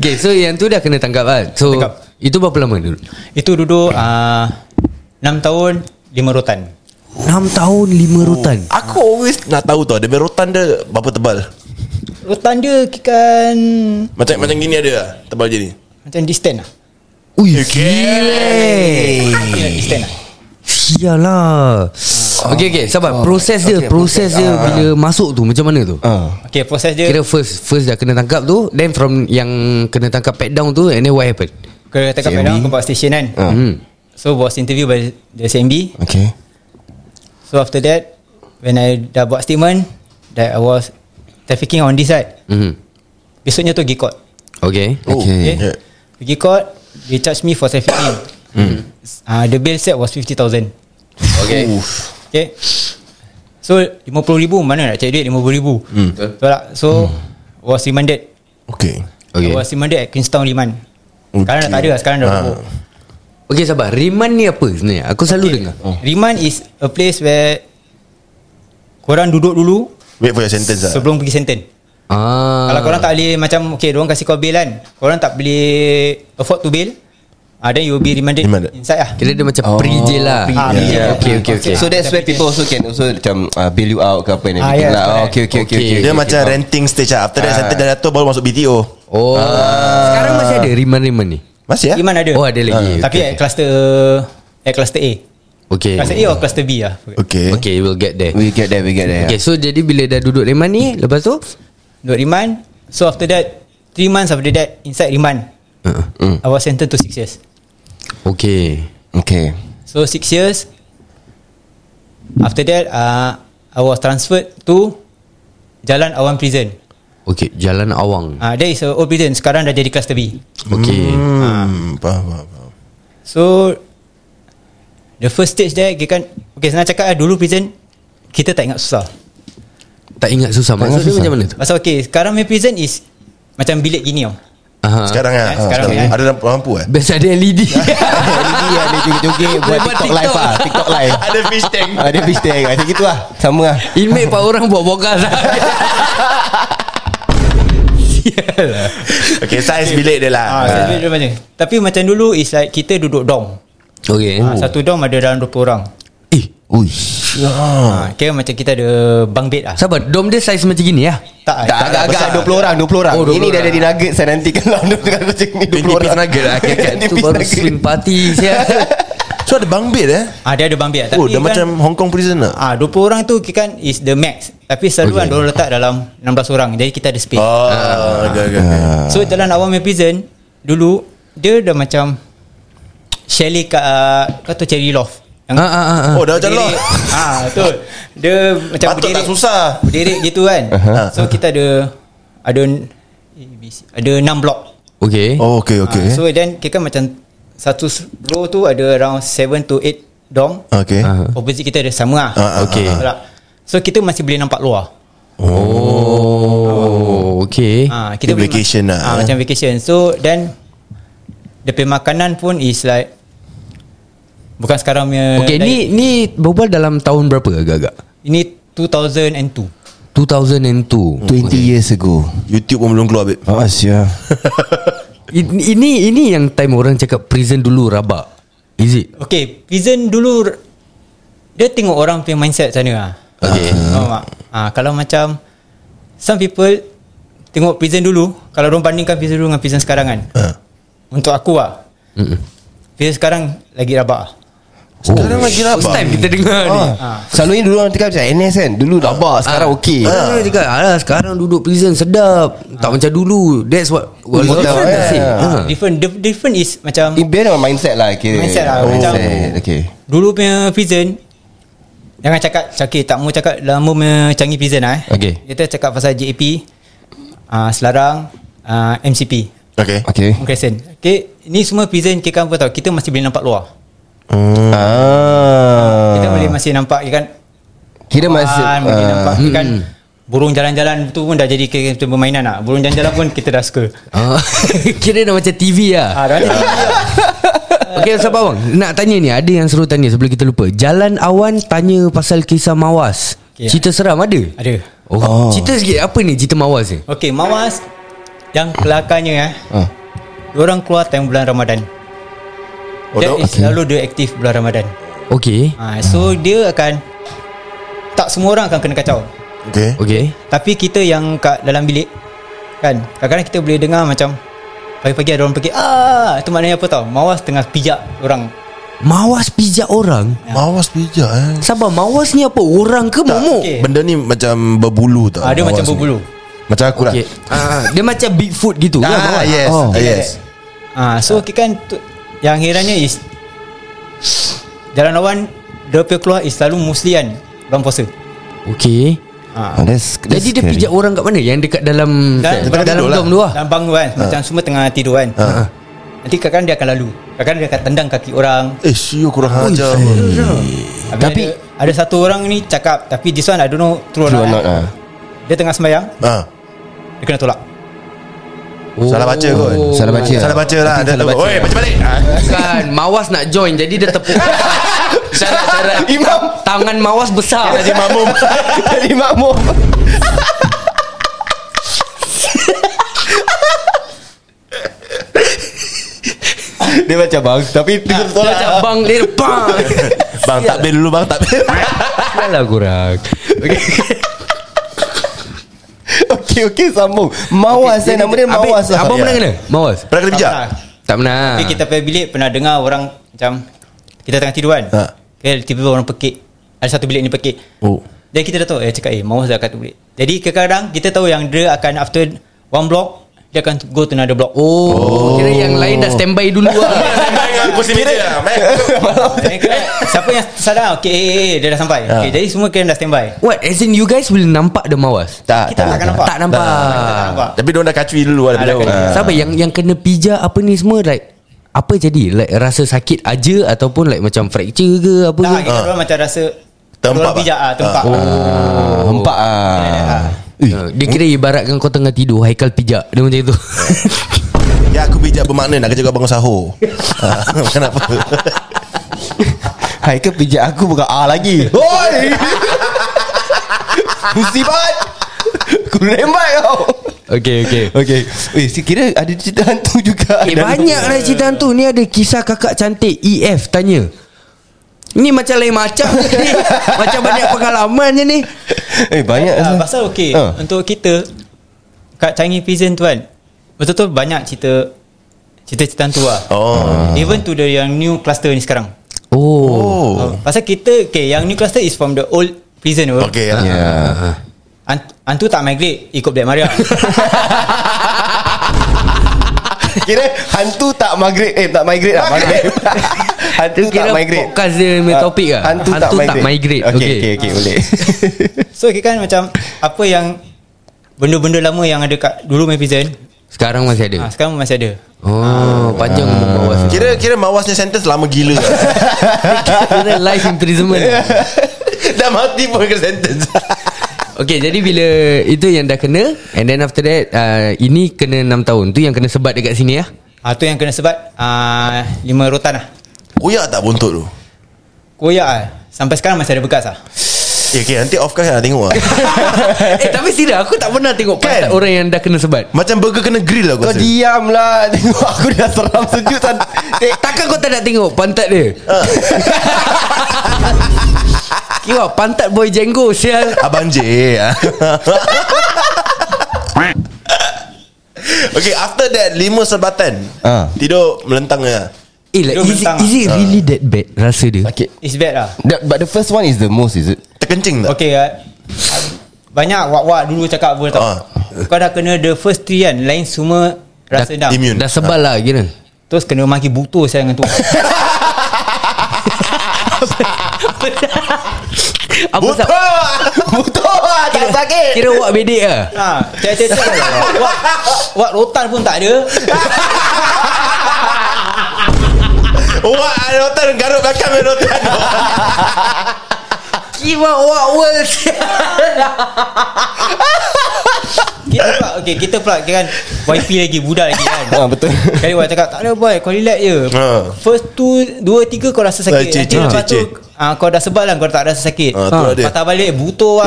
[SPEAKER 3] Okay, so yang tu dah kena tangkap kan. So
[SPEAKER 8] Tangkap.
[SPEAKER 3] itu berapa lama dulu?
[SPEAKER 8] Itu duduk uh, 6 tahun 5 rotan
[SPEAKER 3] 6 tahun 5 rotan.
[SPEAKER 2] Aku always nak tahu tau Dia punya rotan dia Berapa tebal
[SPEAKER 8] Rotan dia kan
[SPEAKER 2] Macam macam gini ada lah, Tebal je ni
[SPEAKER 8] Macam distant lah
[SPEAKER 3] Ui,
[SPEAKER 2] Okay.
[SPEAKER 3] Eh.
[SPEAKER 8] Kira Distant lah
[SPEAKER 3] Sialah. Okay, okay, Ah. sabar. Proses dia, proses dia bila masuk tu macam mana tu?
[SPEAKER 8] Okay proses dia
[SPEAKER 3] Kira first first dah kena tangkap tu, then from yang kena tangkap pat down tu and then what happened?
[SPEAKER 8] Kena tangkap padang Kau bawa station kan
[SPEAKER 3] Hmm.
[SPEAKER 8] So was interview by the SMB
[SPEAKER 4] Okay
[SPEAKER 8] So after that When I dah buat statement That I was Trafficking on this side
[SPEAKER 3] Mhm.
[SPEAKER 8] Besoknya tu pergi court
[SPEAKER 3] Okay.
[SPEAKER 2] Oh.
[SPEAKER 8] Okay,
[SPEAKER 2] Yeah.
[SPEAKER 8] Pergi court They charge me for trafficking
[SPEAKER 2] Hmm.
[SPEAKER 8] Ah, uh, The bail set was 50,000
[SPEAKER 3] Okay.
[SPEAKER 8] Okay So 50,000 Mana nak cari duit 50,000 mm.
[SPEAKER 2] Hmm.
[SPEAKER 8] Betul tak So Was remanded
[SPEAKER 2] Okay
[SPEAKER 3] Okay.
[SPEAKER 8] okay. Was remanded at Queenstown Liman Sekarang dah tak ada lah, Sekarang dah
[SPEAKER 2] Ah.
[SPEAKER 8] ha.
[SPEAKER 3] Okay, sabar. Remand ni apa sebenarnya? Aku selalu okay. Oh. dengar.
[SPEAKER 8] Remand is a place where Korang duduk dulu
[SPEAKER 2] Wait for your sentence lah
[SPEAKER 8] Sebelum pergi sentence
[SPEAKER 3] Ah.
[SPEAKER 8] Kalau korang tak boleh macam Okay diorang kasih kau bail kan Korang tak boleh Afford to bail uh, Then you will be remanded,
[SPEAKER 2] Remanded.
[SPEAKER 8] Inside lah
[SPEAKER 3] Kira dia macam oh, pre-jail lah.
[SPEAKER 8] Ah, pre-jail.
[SPEAKER 3] Yeah. Okay, okay, okay.
[SPEAKER 4] So that's where people also can also macam uh, bail you out ke apa and
[SPEAKER 8] Ah,
[SPEAKER 4] everything
[SPEAKER 8] yes,
[SPEAKER 4] lah. Oh, okay,
[SPEAKER 8] correct.
[SPEAKER 4] okay, okay,
[SPEAKER 3] Okay.
[SPEAKER 4] okay, okay.
[SPEAKER 2] Dia macam renting stage lah After that sentence dah jatuh Baru masuk BTO
[SPEAKER 3] Oh. Sekarang masih ada remand-remand ni?
[SPEAKER 2] Masih
[SPEAKER 8] Iman
[SPEAKER 2] lah
[SPEAKER 8] ada Ah,
[SPEAKER 3] Oh, ada lagi. Okay,
[SPEAKER 8] Tapi at
[SPEAKER 3] okay. Eh.
[SPEAKER 8] cluster At cluster A
[SPEAKER 3] Okay.
[SPEAKER 8] Cluster A or cluster B lah
[SPEAKER 7] Eh.
[SPEAKER 2] Okay
[SPEAKER 3] Okay, we'll get there.
[SPEAKER 4] We get there, we get there.
[SPEAKER 3] Okay,
[SPEAKER 4] Okay.
[SPEAKER 3] so jadi bila dah duduk remand ni, lepas tu?
[SPEAKER 8] Duduk remand So after that 3 months after that Inside remand
[SPEAKER 3] Uh,
[SPEAKER 8] I was sentenced to 6 years
[SPEAKER 3] okay.
[SPEAKER 4] okay.
[SPEAKER 8] So 6 years After that uh, I was transferred to Jalan Awan Prison
[SPEAKER 3] Okay, Jalan Awang.
[SPEAKER 8] uh, That is a old prison Sekarang dah jadi cluster B
[SPEAKER 3] Okay.
[SPEAKER 2] Hmm Faham faham faham.
[SPEAKER 8] So The first stage there Kita kan Okay senang cakap lah Dulu prison Kita tak ingat susah
[SPEAKER 3] Tak ingat susah. Maksud dia macam mana tu?
[SPEAKER 8] Pasal okay Sekarang punya prison is Macam bilik gini tau
[SPEAKER 3] Aha.
[SPEAKER 2] Sekarang lah
[SPEAKER 8] Eh, sekarang
[SPEAKER 2] Ah,
[SPEAKER 8] ni, eh.
[SPEAKER 2] Ada lampu, lampu eh
[SPEAKER 3] Biasa ada E LED
[SPEAKER 4] Ini ada joget-joget Buat
[SPEAKER 3] Buat
[SPEAKER 4] TikTok live
[SPEAKER 3] TikTok.
[SPEAKER 4] lah TikTok live Ah,
[SPEAKER 2] Ada fish tank
[SPEAKER 4] Ada fish tank Macam gitu lah Sama lah
[SPEAKER 3] Inmate pak orang buat bogas lah
[SPEAKER 2] Okay size bilik dia lah
[SPEAKER 8] Ah, uh, dia macam. Tapi macam dulu is like kita duduk dorm.
[SPEAKER 3] Okay
[SPEAKER 8] Ah, satu dorm ada dalam 20 orang.
[SPEAKER 3] Oh. Eh Ui
[SPEAKER 8] Ah, kira macam kita ada bunk bed lah.
[SPEAKER 3] Sabar Dom dia size macam gini lah
[SPEAKER 8] Tak,
[SPEAKER 4] Ah,
[SPEAKER 8] eh?
[SPEAKER 4] Tak agak-agak 20 orang 20 orang
[SPEAKER 3] Oh, 20
[SPEAKER 4] Ini dah
[SPEAKER 3] orang.
[SPEAKER 4] ada di nugget Saya nanti kalau Dia tengah macam ni 20 orang
[SPEAKER 2] piece nugget lah, okay, okay.
[SPEAKER 3] Itu
[SPEAKER 4] Nipis
[SPEAKER 3] baru
[SPEAKER 4] nugget.
[SPEAKER 3] swing party siap.
[SPEAKER 2] So ada bang bed eh
[SPEAKER 8] Ah, dia ada bunk bed lah.
[SPEAKER 2] Oh
[SPEAKER 8] Tapi
[SPEAKER 2] dah
[SPEAKER 8] kan-
[SPEAKER 2] macam Hong Kong prison lah
[SPEAKER 8] Ah, 20 orang tu kan is the max. Tapi selaluan okay. orang letak dalam 16 orang. Jadi kita ada space. Oh.
[SPEAKER 2] Oh okay, okay.
[SPEAKER 8] So dalam awam punya prison dulu dia dah macam chalet kat uh, kau tahu cherry loft. Yang
[SPEAKER 3] Ah, ah, ah, ah.
[SPEAKER 2] Oh dah macam lah
[SPEAKER 8] Ah, betul. Dia macam
[SPEAKER 2] Patut tak
[SPEAKER 8] berderet-
[SPEAKER 2] susah
[SPEAKER 8] Berderet gitu kan.
[SPEAKER 2] Aha.
[SPEAKER 8] So kita ada ada A, B, C, ada 6 blok.
[SPEAKER 3] Okay
[SPEAKER 2] Oh okay okay
[SPEAKER 8] Ah, so then kita kan macam satu row tu ada around 7 to 8 dorm.
[SPEAKER 2] Okay
[SPEAKER 3] Ah.
[SPEAKER 8] Opposite kita ada sama lah.
[SPEAKER 2] Ah, ah,
[SPEAKER 3] Okay.
[SPEAKER 8] Betul tak? So kita masih boleh nampak luar.
[SPEAKER 3] Oh Okay
[SPEAKER 8] Ah,
[SPEAKER 2] Dia vacation lah.
[SPEAKER 8] Ah, macam vacation. So then dia punya makanan pun is like bukan sekarang punya.
[SPEAKER 3] Okay ni ni berbual dalam tahun berapa agak-agak
[SPEAKER 8] ini 2002.
[SPEAKER 3] 2002
[SPEAKER 9] 20 years ago
[SPEAKER 2] YouTube pun belum keluar babe
[SPEAKER 9] Oh Asya
[SPEAKER 3] Ini ini, ini yang time orang cakap prison dulu rabak Is it
[SPEAKER 8] Okay, prison dulu dia tengok orang punya mindset sana lah.
[SPEAKER 3] Okay.
[SPEAKER 8] Faham tak? Ah, kalau macam some people tengok prison dulu, kalau orang bandingkan prison dulu dengan prison sekarang kan.
[SPEAKER 2] Ah.
[SPEAKER 8] Untuk aku lah,
[SPEAKER 3] Mm-mm.
[SPEAKER 8] prison sekarang lagi rabak. lah.
[SPEAKER 2] Sekarang lagi
[SPEAKER 3] Oh. First
[SPEAKER 2] rabak
[SPEAKER 3] time kita dengar ni
[SPEAKER 4] Ah. Selalunya dulu orang cakap macam NS kan Dulu rabak Sekarang okey
[SPEAKER 3] Ah. Orang cakap Alah sekarang duduk prison sedap Tak macam dulu That's what well,
[SPEAKER 4] Betul,
[SPEAKER 3] different
[SPEAKER 4] eh.
[SPEAKER 3] I say.
[SPEAKER 8] lah.
[SPEAKER 4] Ah.
[SPEAKER 3] Ah.
[SPEAKER 8] Different the different is macam
[SPEAKER 4] It based on mindset lah kira.
[SPEAKER 8] Mindset lah, macam-
[SPEAKER 4] Mindset, Okay
[SPEAKER 8] Dulu punya prison Jangan cakap Syakir tak mau cakap Lama punya Changi prison lah eh
[SPEAKER 3] Okey.
[SPEAKER 8] Kita cakap pasal JAP uh, Selarang uh, MCP
[SPEAKER 2] Okay
[SPEAKER 4] Okay
[SPEAKER 8] Crescent Okay Ni semua prison Kita kan apa tau Kita masih boleh nampak luar
[SPEAKER 4] Hmm. ah.
[SPEAKER 8] Kita boleh masih nampak Ikan
[SPEAKER 4] Kira masih
[SPEAKER 8] Pan Boleh nampak
[SPEAKER 4] ah.
[SPEAKER 8] Ikan Burung jalan-jalan tu pun dah jadi Kita kita permainan lah Burung jalan-jalan pun kita dah suka
[SPEAKER 3] Ah. Kira dah macam TV lah
[SPEAKER 8] Ah, dah macam tu.
[SPEAKER 3] Okay sabar bang Nak tanya ni Ada yang suruh tanya Sebelum kita lupa Jalan awan Tanya pasal kisah mawas
[SPEAKER 8] Okay.
[SPEAKER 3] Cerita seram ada?
[SPEAKER 8] Ada
[SPEAKER 3] Oh. Cerita sikit Apa ni cerita mawas ni?
[SPEAKER 8] Okay Mawas Yang kelakarnya eh
[SPEAKER 2] Ha.
[SPEAKER 4] Ah.
[SPEAKER 8] Diorang keluar time bulan Ramadan
[SPEAKER 2] Oh,
[SPEAKER 8] That
[SPEAKER 2] dah- Ah.
[SPEAKER 8] is selalu dia aktif bulan Ramadan
[SPEAKER 3] Okay
[SPEAKER 8] ha, So dia akan Tak semua orang akan kena kacau
[SPEAKER 2] Okay
[SPEAKER 3] Okay
[SPEAKER 8] Tapi kita yang kat dalam bilik Kan Kadang-kadang kita boleh dengar macam Pagi-pagi ada orang pergi ah Itu maknanya apa tau Mawas tengah pijak orang
[SPEAKER 3] Mawas pijak orang?
[SPEAKER 2] Mawas bijak eh
[SPEAKER 3] Sabar mawas ni apa? Orang ke momok?
[SPEAKER 8] Okay.
[SPEAKER 2] Benda ni macam berbulu tau
[SPEAKER 8] ha, Dia
[SPEAKER 2] Ah, mawas
[SPEAKER 8] macam
[SPEAKER 2] ni.
[SPEAKER 8] berbulu
[SPEAKER 2] Macam aku lah
[SPEAKER 3] Okay. Ah, dia macam Bigfoot gitu lah,
[SPEAKER 2] Ah
[SPEAKER 3] mawas.
[SPEAKER 2] yes
[SPEAKER 3] Oh.
[SPEAKER 2] ah, Yes
[SPEAKER 8] ha,
[SPEAKER 2] Ah.
[SPEAKER 8] So kita kan tu, Yang herannya is Jalan lawan Dia punya keluar is selalu mostly kan Bulan puasa
[SPEAKER 3] Okay
[SPEAKER 2] Ah.
[SPEAKER 9] oh,
[SPEAKER 4] Ah,
[SPEAKER 8] ha,
[SPEAKER 9] that's, that's
[SPEAKER 3] Jadi dia pijak orang kat mana? Yang dekat dalam
[SPEAKER 8] Dan-
[SPEAKER 3] dekat dalam
[SPEAKER 2] tidur
[SPEAKER 3] dom tu lah
[SPEAKER 8] Dalam bangun kan Macam semua tengah tidur kan
[SPEAKER 2] Ah.
[SPEAKER 7] Ha.
[SPEAKER 8] Nanti kadang-kadang dia akan lalu Kadang-kadang dia akan tendang kaki orang
[SPEAKER 2] Eh siu kurang ajar eh.
[SPEAKER 8] Habis Tapi ada, ada satu orang ni cakap Tapi this one I don't know True,
[SPEAKER 4] True
[SPEAKER 8] or
[SPEAKER 4] or
[SPEAKER 8] not,
[SPEAKER 4] not
[SPEAKER 8] eh."
[SPEAKER 4] ah.
[SPEAKER 8] Dia tengah sembahyang
[SPEAKER 2] Ah,
[SPEAKER 8] Dia kena tolak
[SPEAKER 3] Oh.
[SPEAKER 2] Salah baca kot
[SPEAKER 9] Salah baca
[SPEAKER 2] Salah baca lah Dia tu Oi baca balik Ah,
[SPEAKER 3] Bukan Mawas nak join Jadi dia tepuk Syarat-syarat Imam Tangan mawas besar
[SPEAKER 2] Jadi mamum
[SPEAKER 4] Jadi makmum Dia macam bang Tapi dia tolak
[SPEAKER 3] Macam bang dia Bang
[SPEAKER 2] Bang tak bil dulu bang tak bil
[SPEAKER 3] Alah kurang
[SPEAKER 4] Okey okey sambung Mawas eh Nama dia Mawas lah
[SPEAKER 3] Abang
[SPEAKER 2] Ya.
[SPEAKER 3] pernah kena Ha. Mawas
[SPEAKER 2] Pernah kena bijak
[SPEAKER 8] Tak
[SPEAKER 3] Tak pernah
[SPEAKER 8] Tapi kita pergi bilik Pernah dengar orang Macam Kita tengah tidur kan
[SPEAKER 2] Ha.
[SPEAKER 8] okay, Tiba-tiba orang pekik Ada satu bilik ni pekik
[SPEAKER 2] Oh
[SPEAKER 8] Jadi kita dah tahu Eh cakap eh Mawas dah kat tu bilik Jadi kadang-kadang Kita tahu yang dia akan After one block Dia akan go to another block
[SPEAKER 3] Oh, Kira yang lain dah standby dulu lah
[SPEAKER 2] Kursi meja lah Mac.
[SPEAKER 8] Eh, kira- Siapa yang sadar Okay eh, eh, eh, Dia dah sampai okay, Jadi semua kira dah standby
[SPEAKER 3] What as in you guys will nampak the mawas
[SPEAKER 4] Ah,
[SPEAKER 2] Tak
[SPEAKER 8] Kita tak akan nampak
[SPEAKER 3] Tak nampak Ah.
[SPEAKER 8] Tak nampak
[SPEAKER 2] Tapi diorang dah kacui dulu lah
[SPEAKER 8] Ah, dah
[SPEAKER 2] Daripada
[SPEAKER 8] kacui.
[SPEAKER 2] orang
[SPEAKER 3] Sabar yang yang kena pijak apa ni semua like apa jadi like rasa sakit aja ataupun like macam fracture ke apa
[SPEAKER 8] Tak
[SPEAKER 3] ke
[SPEAKER 8] kita orang macam rasa
[SPEAKER 2] Tempat
[SPEAKER 8] orang
[SPEAKER 2] lah.
[SPEAKER 8] bijak ah, Tempat
[SPEAKER 4] Ah, Hempak ah
[SPEAKER 3] Uh, dia kira ibaratkan kau tengah tidur Haikal pijak Dia macam itu
[SPEAKER 7] Ya aku pijak bermakna Nak kerja kau bangun sahur Ah, Kenapa
[SPEAKER 4] Haikal pijak aku bukan A lagi Hoi Musibat Aku rembat kau
[SPEAKER 3] Okay okay
[SPEAKER 4] Okay Weh Eh, si- kira ada cerita hantu juga
[SPEAKER 3] Eh,
[SPEAKER 4] Dalam-
[SPEAKER 3] banyak lah cerita hantu Ni ada kisah kakak cantik EF tanya Ni macam lain macam je ni Macam banyak pengalaman je ni
[SPEAKER 4] Eh banyak
[SPEAKER 8] Ah,
[SPEAKER 3] Oh.
[SPEAKER 4] lah
[SPEAKER 8] pasal okey
[SPEAKER 4] Ah.
[SPEAKER 8] uh. untuk kita kat Changi Prison tu kan. Betul-betul banyak cerita cerita-cerita tu lah.
[SPEAKER 7] Oh
[SPEAKER 8] Even to the yang new cluster ni sekarang.
[SPEAKER 3] Oh,
[SPEAKER 7] Oh
[SPEAKER 8] Oh. Pasal kita okay, yang new cluster is from the old prison tu.
[SPEAKER 7] Okay lah
[SPEAKER 3] Ah,
[SPEAKER 4] Ya
[SPEAKER 8] Ant- Antu tak migrate ikut Black Maria.
[SPEAKER 4] Kira hantu tak migrate Eh tak migrate lah Migrate Hantu tak
[SPEAKER 3] Kira
[SPEAKER 4] migrate
[SPEAKER 3] podcast dia punya
[SPEAKER 4] Ah,
[SPEAKER 3] topik lah.
[SPEAKER 4] Hantu, tak,
[SPEAKER 3] Hantu tak
[SPEAKER 4] migrate.
[SPEAKER 3] migrate.
[SPEAKER 4] Okay
[SPEAKER 3] Okay.
[SPEAKER 4] okay, okay boleh
[SPEAKER 8] so kita kan macam apa yang benda-benda lama yang ada kat dulu main prison.
[SPEAKER 3] sekarang masih ada
[SPEAKER 8] Ah sekarang masih ada.
[SPEAKER 3] Oh, panjang umur mawas ni.
[SPEAKER 7] Kira kira mawasnya sentence lama gila
[SPEAKER 3] Kira life imprisonment
[SPEAKER 7] Dah mati pun ke sentence
[SPEAKER 3] Okay jadi bila Itu yang dah kena And then after that uh, Ini kena 6 tahun Tu yang kena sebat dekat sini lah
[SPEAKER 8] Ah tu yang kena sebat ah lima rotan lah.
[SPEAKER 7] Koyak tak buntut tu
[SPEAKER 8] Koyak lah. Sampai sekarang masih ada bekas lah.
[SPEAKER 7] Eh okay, nanti off kan nak tengok lah
[SPEAKER 3] Eh tapi serius Aku tak pernah tengok
[SPEAKER 7] Kan?
[SPEAKER 3] kan? Orang yang dah kena sebat
[SPEAKER 7] Macam burger kena grill lah aku
[SPEAKER 4] Kau
[SPEAKER 7] rasa
[SPEAKER 4] diam lah Tengok aku dah seram sejuk tak
[SPEAKER 3] Eh, Ah. takkan kau tak nak tengok pantat dia? Kira pantat boy jenggo sial.
[SPEAKER 7] Abang J Okay after that Lima sebatan
[SPEAKER 4] Ah.
[SPEAKER 7] Tidur melentang lah
[SPEAKER 3] Eh like,
[SPEAKER 8] Dia
[SPEAKER 3] is, it,
[SPEAKER 8] mentang
[SPEAKER 3] is it really that bad rasa dia?
[SPEAKER 4] Okay
[SPEAKER 8] It's bad lah.
[SPEAKER 4] That, But the first one is the most is it
[SPEAKER 7] Terkencing tak?
[SPEAKER 8] Okay ah, Banyak wak-wak dulu cakap apa tau
[SPEAKER 7] Ah.
[SPEAKER 8] Kau dah kena the first three kan Lain semua rasa
[SPEAKER 3] Dah-
[SPEAKER 8] ah. dah
[SPEAKER 7] Immune
[SPEAKER 3] Dah sebal lah kira.
[SPEAKER 8] Terus kena maki butuh saya dengan tu
[SPEAKER 3] Apa
[SPEAKER 7] Buta
[SPEAKER 3] sab-
[SPEAKER 8] Oh,
[SPEAKER 7] Buta Ah, Tak sakit
[SPEAKER 3] Kira wak bedek ah.
[SPEAKER 8] ha, Cek-cek wak, wak rotan pun tak ada
[SPEAKER 7] Wah Rotan garuk belakang eh, Rotan
[SPEAKER 3] Kira wak world.
[SPEAKER 8] Kita pula okay, Kita pula kira kan YP lagi Budak lagi kan
[SPEAKER 4] Ah Betul
[SPEAKER 8] Kali wak cakap Tak ada boy Kau relax je
[SPEAKER 7] Ah.
[SPEAKER 8] First tu Dua tiga kau rasa
[SPEAKER 7] Ah,
[SPEAKER 8] sakit
[SPEAKER 7] cek,
[SPEAKER 8] Nanti
[SPEAKER 7] cek,
[SPEAKER 8] lepas
[SPEAKER 7] cek,
[SPEAKER 8] tu
[SPEAKER 7] cek.
[SPEAKER 8] ah, Kau dah sebal lah Kau tak rasa sakit
[SPEAKER 7] Ah, tu
[SPEAKER 8] Ah,
[SPEAKER 7] ada.
[SPEAKER 8] Patah balik Butuh lah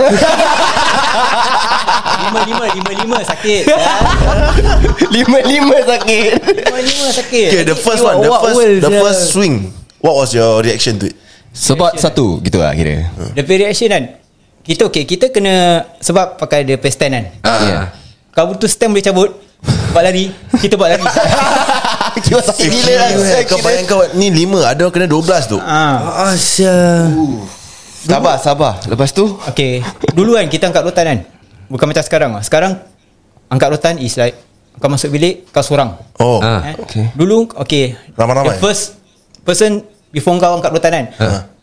[SPEAKER 8] Lima lima Lima lima sakit Ah,
[SPEAKER 4] Lima-lima sakit
[SPEAKER 8] Lima lima sakit
[SPEAKER 7] Okay the first one The first the first swing What was your reaction to it?
[SPEAKER 4] Sebab satu Gitu lah kira
[SPEAKER 8] The reaction kan Kita okay Kita kena Sebab pakai the paste stand kan
[SPEAKER 4] Ah.
[SPEAKER 8] Kau butuh stand boleh cabut Buat lari Kita buat lari
[SPEAKER 4] Kira sakit gila lah
[SPEAKER 7] eh, Kau
[SPEAKER 4] Kira-
[SPEAKER 7] bayangkan what, Ni lima Ada orang kena 12 tu
[SPEAKER 8] ha.
[SPEAKER 3] Ah sial.
[SPEAKER 4] Sabar sabar Lepas tu
[SPEAKER 8] Okay Dulu kan kita angkat rotan kan Bukan macam sekarang lah. Sekarang Angkat rotan is like Kau masuk bilik Kau seorang
[SPEAKER 7] Oh
[SPEAKER 3] Ah.
[SPEAKER 8] eh? okay. Dulu okay
[SPEAKER 7] Ramai-ramai?
[SPEAKER 8] The first Person Before kau angkat rotan kan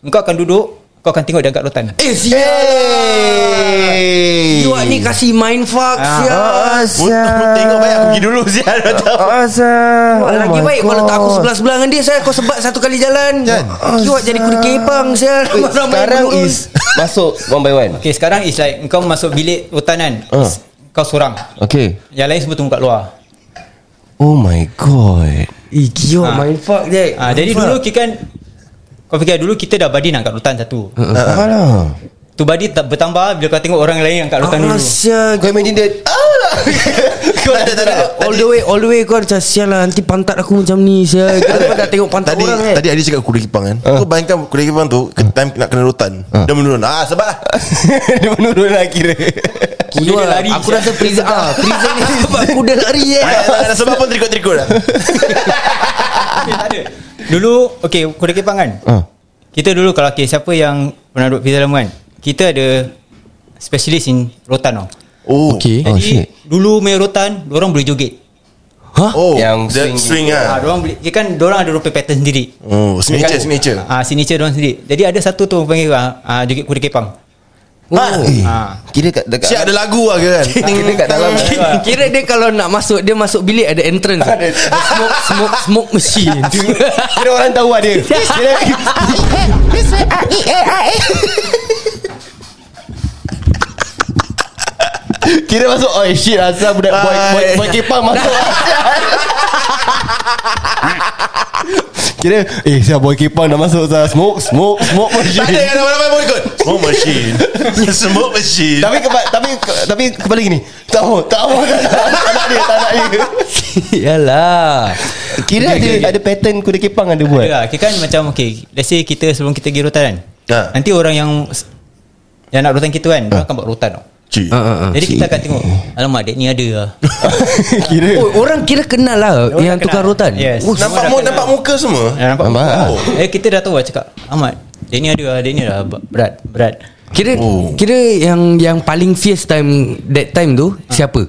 [SPEAKER 8] Kau akan duduk Kau akan tengok dia angkat rotan
[SPEAKER 3] Eh sial.
[SPEAKER 4] Hey
[SPEAKER 3] Wak ni kasih mind fuck sial.
[SPEAKER 7] Butuh tengok banyak Aku pergi dulu sial Rotan.
[SPEAKER 4] Asal
[SPEAKER 3] Lagi baik kalau tak aku sebelah-sebelah dengan dia Saya kau sebat satu kali jalan Kiwak jadi kuda kepang Saya
[SPEAKER 4] Sekarang is Masuk one by one
[SPEAKER 8] Okay sekarang is like Kau masuk bilik rotan kan
[SPEAKER 4] Ah.
[SPEAKER 8] Kau seorang
[SPEAKER 4] Okay
[SPEAKER 8] Yang lain semua tunggu kat luar
[SPEAKER 4] Oh my god
[SPEAKER 3] Eh kiwak mind fuck je
[SPEAKER 8] Ah, jadi dulu kita kan kau fikir dulu kita dah badi nak angkat rotan satu.
[SPEAKER 4] Ha. Ah. Alah
[SPEAKER 8] Tu badi tak bertambah bila kau tengok orang lain yang angkat rotan dulu.
[SPEAKER 3] Asya
[SPEAKER 4] Kau imagine dia ah, Kau
[SPEAKER 7] Tak ada, tak ada.
[SPEAKER 3] All the way All the way kau macam Sial lah Nanti pantat aku macam ni Sial Kenapa dah tengok pantat
[SPEAKER 7] Tadi
[SPEAKER 3] orang
[SPEAKER 7] orang,
[SPEAKER 3] eh
[SPEAKER 7] tadi Adi cakap kuda kipang kan Kau bayangkan kuda kipang tu ke Time nak kena rotan Dia menurun Ah sebab lah
[SPEAKER 4] Dia menurun lah kira
[SPEAKER 8] Kuda
[SPEAKER 3] Kiwak,
[SPEAKER 8] lari,
[SPEAKER 3] Aku
[SPEAKER 8] sial.
[SPEAKER 3] rasa prison ah, Prison ni sebab kuda lari eh
[SPEAKER 7] Tak ada Ah, sebab pun terikut-terikut lah
[SPEAKER 8] Eh, tak ada. Dulu okey kuda kepang kan.
[SPEAKER 4] Ah.
[SPEAKER 8] Kita dulu kalau okay, siapa yang pernah duduk pizza lama kan. Kita ada specialist in rotan tau.
[SPEAKER 7] Oh
[SPEAKER 3] Okay
[SPEAKER 4] Oh,
[SPEAKER 8] Eh, Jadi
[SPEAKER 4] shit.
[SPEAKER 8] dulu main rotan, orang boleh joget.
[SPEAKER 7] Oh
[SPEAKER 4] Yang
[SPEAKER 7] Yang swing, swing
[SPEAKER 4] swing-
[SPEAKER 8] Ah,
[SPEAKER 7] lah
[SPEAKER 8] orang boleh dia kan orang ada rupa pattern sendiri.
[SPEAKER 7] Oh signature signature
[SPEAKER 8] Ah, signature orang sendiri. Jadi ada satu tu panggil ah, ah, joget kuda kepang. Ah.
[SPEAKER 4] Kira kat dekat
[SPEAKER 7] Siap ada lagu lah kira kan
[SPEAKER 4] Kira kat dalam
[SPEAKER 3] Kira dia kalau nak masuk Dia masuk bilik ada entrance Ada smoke Smoke Smoke machine
[SPEAKER 4] Kira orang tahu lah dia Kira Kira masuk Oh shit asal budak boy, boy, boy kepang masuk Kira Eh siapa boy kepang dah masuk Azhar. Smoke Smoke Smoke
[SPEAKER 7] Tak ada yang ramai-ramai pun ikut Smoke machine Smoke machine
[SPEAKER 4] Tapi kepa, tapi tapi kepala gini. Tak mau, tak mau. Tak nak tak nak dia, tak nak dia.
[SPEAKER 3] Yalah
[SPEAKER 4] Kira ada ada pattern kuda kepang ada buat.
[SPEAKER 8] Yalah, kita kan macam okay, let's say kita sebelum kita pergi rotan kan.
[SPEAKER 7] Ha.
[SPEAKER 8] Nanti orang yang yang nak rotan kita kan, dia akan buat rotan tau.
[SPEAKER 7] Cik
[SPEAKER 3] Ah, ah, ah.
[SPEAKER 8] Jadi kita akan tengok Alamak dek ni ada lah
[SPEAKER 4] Kira
[SPEAKER 3] Oh, orang kira kenal lah
[SPEAKER 8] Orang
[SPEAKER 3] yang
[SPEAKER 8] kenal.
[SPEAKER 3] tukar rotan.
[SPEAKER 8] Yes
[SPEAKER 7] Oh, nampak, mu, nampak muka semua Oh.
[SPEAKER 8] Eh, nampak
[SPEAKER 4] Nampak
[SPEAKER 8] muka.
[SPEAKER 4] lah.
[SPEAKER 8] Eh kita dah tahu lah cakap Ahmad Dia ni ada lah Dia ni lah Berat Berat
[SPEAKER 3] Kira
[SPEAKER 7] Oh.
[SPEAKER 3] kira yang yang paling fierce time that time tu siapa?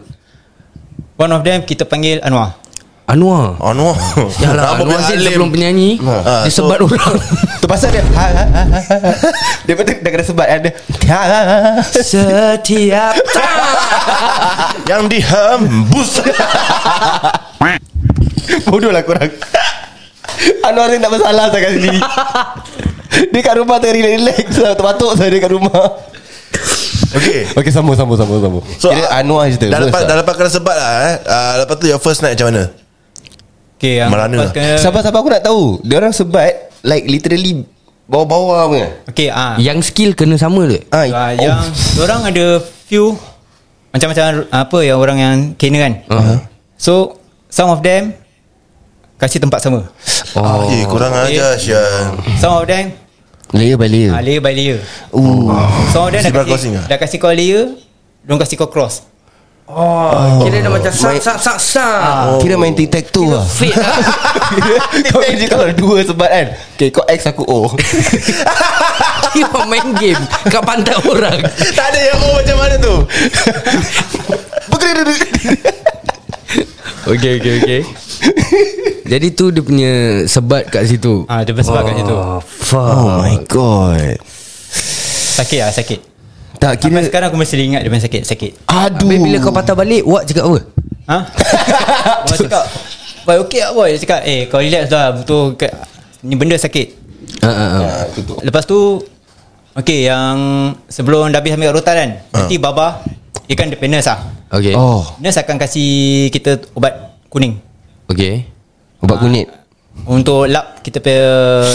[SPEAKER 8] One of them kita panggil Anwar
[SPEAKER 3] Anwar.
[SPEAKER 7] Oh no
[SPEAKER 3] Yalah,
[SPEAKER 7] Apa
[SPEAKER 3] Anwar
[SPEAKER 7] punya
[SPEAKER 3] Zil
[SPEAKER 7] alim?
[SPEAKER 3] lah, sebelum penyanyi
[SPEAKER 7] Ah,
[SPEAKER 3] dia
[SPEAKER 7] so-
[SPEAKER 3] sebat orang.
[SPEAKER 4] tu pasal dia. Ha, ha, ha, ha, ha. Dia betul dah kena sebat ada. Ha, ha, ha, ha.
[SPEAKER 3] Setiap
[SPEAKER 7] Yang dihembus
[SPEAKER 4] Bodoh lah korang. Anwar ni tak bersalah sangat sini. Dia kat rumah tengah relax-relax Terbatuk saya dia kat rumah
[SPEAKER 7] Okay
[SPEAKER 4] Okay sambung sambung sambung sambung
[SPEAKER 7] So,
[SPEAKER 4] Kira Anwar je tu
[SPEAKER 7] Dah lepas,
[SPEAKER 4] first
[SPEAKER 7] dah
[SPEAKER 4] lah.
[SPEAKER 7] lepas kena sebat lah eh. Ah, Lepas tu your first night macam mana
[SPEAKER 8] Okay yang
[SPEAKER 7] Merana.
[SPEAKER 8] lepas kena-
[SPEAKER 4] Sabar-sabar aku nak tahu Dia orang sebat Like literally Bawa-bawa punya
[SPEAKER 8] Okay ah.
[SPEAKER 3] yang skill kena sama tu.
[SPEAKER 4] Ah,
[SPEAKER 8] Ah,
[SPEAKER 4] oh.
[SPEAKER 8] yang orang ada few macam-macam apa yang orang yang kena kan.
[SPEAKER 3] Uh-huh.
[SPEAKER 8] So some of them kasih tempat sama.
[SPEAKER 7] oh.
[SPEAKER 3] Ah.
[SPEAKER 7] Eh kurang
[SPEAKER 8] Okay.
[SPEAKER 7] ajar Syah
[SPEAKER 8] Some of them
[SPEAKER 9] Layer by layer
[SPEAKER 8] ah, layer by layer.
[SPEAKER 9] Ooh.
[SPEAKER 4] oh.
[SPEAKER 8] Some of them dah
[SPEAKER 7] Zebra
[SPEAKER 8] kasih,
[SPEAKER 7] crossing ah?
[SPEAKER 8] dah kasih kau layer, dong kasih kau cross.
[SPEAKER 3] Kira dah macam sak sak sak sak.
[SPEAKER 4] Ah.
[SPEAKER 9] Kira main tic tac toe lah
[SPEAKER 3] Fit lah.
[SPEAKER 4] Kau kerja kalau dua sebat kan Okay kau X aku O
[SPEAKER 3] Kira main game kat pantai orang.
[SPEAKER 7] Tak ada yang oh macam mana tu
[SPEAKER 3] Okey okey okey. Jadi tu dia punya sebat kat situ.
[SPEAKER 8] Ah, dia sebab kat situ.
[SPEAKER 3] fuck.
[SPEAKER 9] Oh my god
[SPEAKER 8] Sakit ah, sakit.
[SPEAKER 9] Tak
[SPEAKER 8] Kira
[SPEAKER 9] kira
[SPEAKER 8] sekarang aku masih ingat dia punya sakit, sakit.
[SPEAKER 9] Aduh
[SPEAKER 3] Habis bila kau patah balik, Wak cakap apa?
[SPEAKER 8] Ha? Orang cakap, "Boy, okey ah boy." Dia cakap, "Eh, kau relax lah, betul ke- ni benda sakit."
[SPEAKER 3] Ha ah, ah.
[SPEAKER 8] Lepas tu Okay yang Sebelum dah habis ambil rotan kan
[SPEAKER 7] Ha.
[SPEAKER 8] Nanti Baba Dia kan depan nurse lah
[SPEAKER 3] Okey.
[SPEAKER 9] Oh
[SPEAKER 8] Nurse akan kasi kita ubat kuning
[SPEAKER 3] Okey.
[SPEAKER 9] Ubat kunyit
[SPEAKER 8] Untuk lap kita punya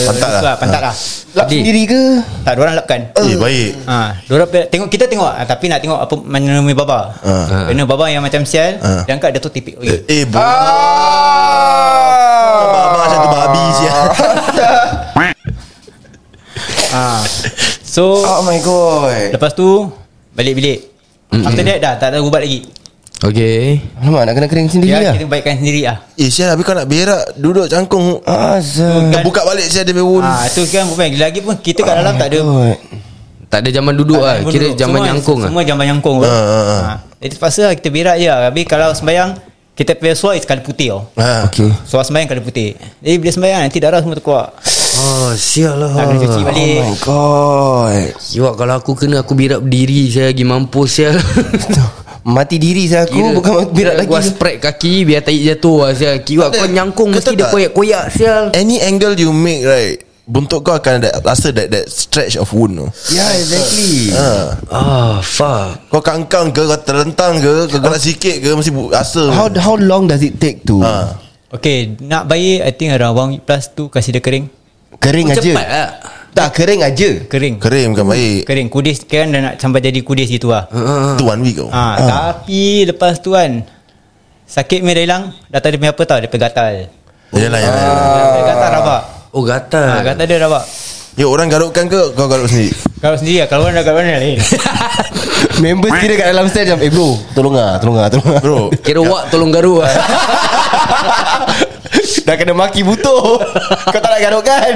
[SPEAKER 7] Pantat lah.
[SPEAKER 8] Pantat lah
[SPEAKER 4] Lap sendiri ke
[SPEAKER 8] Tak diorang lapkan
[SPEAKER 7] Eh baik
[SPEAKER 8] Ha, diorang pe- tengok kita tengok ah, tapi nak tengok apa mana nama baba.
[SPEAKER 7] Ah.
[SPEAKER 8] Kena baba yang macam sial,
[SPEAKER 7] Ah.
[SPEAKER 8] dia angkat dia tu tipik.
[SPEAKER 7] Eh,
[SPEAKER 8] Oi.
[SPEAKER 7] eh bu. Abang macam tu babi sia.
[SPEAKER 8] Ha. So
[SPEAKER 7] Ah.
[SPEAKER 4] Oh my god
[SPEAKER 8] lepas tu balik bilik. After that dah tak ada ubat lagi.
[SPEAKER 3] Okey.
[SPEAKER 9] Alamak nak kena kering sendiri
[SPEAKER 8] Dia
[SPEAKER 9] lah
[SPEAKER 8] kita baikkan sendiri ah.
[SPEAKER 7] Eh sia habis kau nak berak duduk cangkung.
[SPEAKER 9] Azal
[SPEAKER 7] Kau buka balik sia dia punya wound.
[SPEAKER 8] Ah, Kan? tu kan bukan lagi pun kita kat dalam tak ada
[SPEAKER 9] God
[SPEAKER 3] Tak ada zaman duduk lah.
[SPEAKER 8] Zaman
[SPEAKER 3] Kira
[SPEAKER 8] dulu.
[SPEAKER 3] zaman
[SPEAKER 8] semua,
[SPEAKER 3] nyangkung lah.
[SPEAKER 8] Semua zaman nyangkung
[SPEAKER 7] Ha, ha, ha.
[SPEAKER 8] ha. Jadi terpaksa lah kita berak je lah. Habis kalau sembahyang Kita punya suar is colour putih tau
[SPEAKER 7] Ha.
[SPEAKER 9] Okay
[SPEAKER 8] Suar sembahyang colour putih Jadi bila sembahyang nanti darah semua terkeluar
[SPEAKER 3] Oh, sial lah.
[SPEAKER 8] Tak kena cuci balik
[SPEAKER 9] Oh my god
[SPEAKER 3] Siwak kalau aku kena aku birak berdiri saya lagi mampus ya. saya.
[SPEAKER 9] Mati diri saya aku Kira, Bukan berat lagi
[SPEAKER 3] Gua spread kaki biar tai jatuh lah saya. Kiwak
[SPEAKER 7] Tak ada.
[SPEAKER 3] kau
[SPEAKER 8] Eh,
[SPEAKER 3] nyangkung
[SPEAKER 7] Kau
[SPEAKER 3] mesti
[SPEAKER 7] tahu
[SPEAKER 3] dia
[SPEAKER 7] tak?
[SPEAKER 3] koyak-koyak sial.
[SPEAKER 9] Eh,
[SPEAKER 7] Any angle you make right, bentuk kau akan ada rasa that that stretch of wound tu.
[SPEAKER 9] Yeah Ya, exactly
[SPEAKER 7] Ha.
[SPEAKER 3] Ah, fuck.
[SPEAKER 7] Kau kangkang ke kau terlentang ke kau gerak sikit ke mesti bu- rasa.
[SPEAKER 9] How how long does it take to
[SPEAKER 7] Ha.
[SPEAKER 8] Okay nak baik I think around one week plus tu Kasih dia kering
[SPEAKER 9] Kering aja
[SPEAKER 3] Cepat lah.
[SPEAKER 9] Tak kering aja
[SPEAKER 8] Kering
[SPEAKER 7] Kering bukan baik.
[SPEAKER 8] Kering Kudis kan dah nak sampai jadi kudis gitu lah
[SPEAKER 7] Tu one week kau.
[SPEAKER 8] ha, Tapi lepas tu kan Sakit punya dah hilang Dah tak ada punya apa tau Dia punya gatal
[SPEAKER 7] Yalah yalah. yalah.
[SPEAKER 8] Dia punya gatal rabak
[SPEAKER 3] Oh,
[SPEAKER 8] ha,
[SPEAKER 3] gatal.
[SPEAKER 8] Gatal dia rabak
[SPEAKER 7] Ya orang garukkan ke kau garuk sendiri?
[SPEAKER 8] Kalau sendiri lah Kalau orang dah kat mana lain
[SPEAKER 9] Members kira kat dalam stand macam Eh bro Tolong lah Tolong lah Tolong lah
[SPEAKER 7] Bro.
[SPEAKER 3] Kira wak tolong garu lah.
[SPEAKER 9] Dah kena maki butuh Kau tak nak garukkan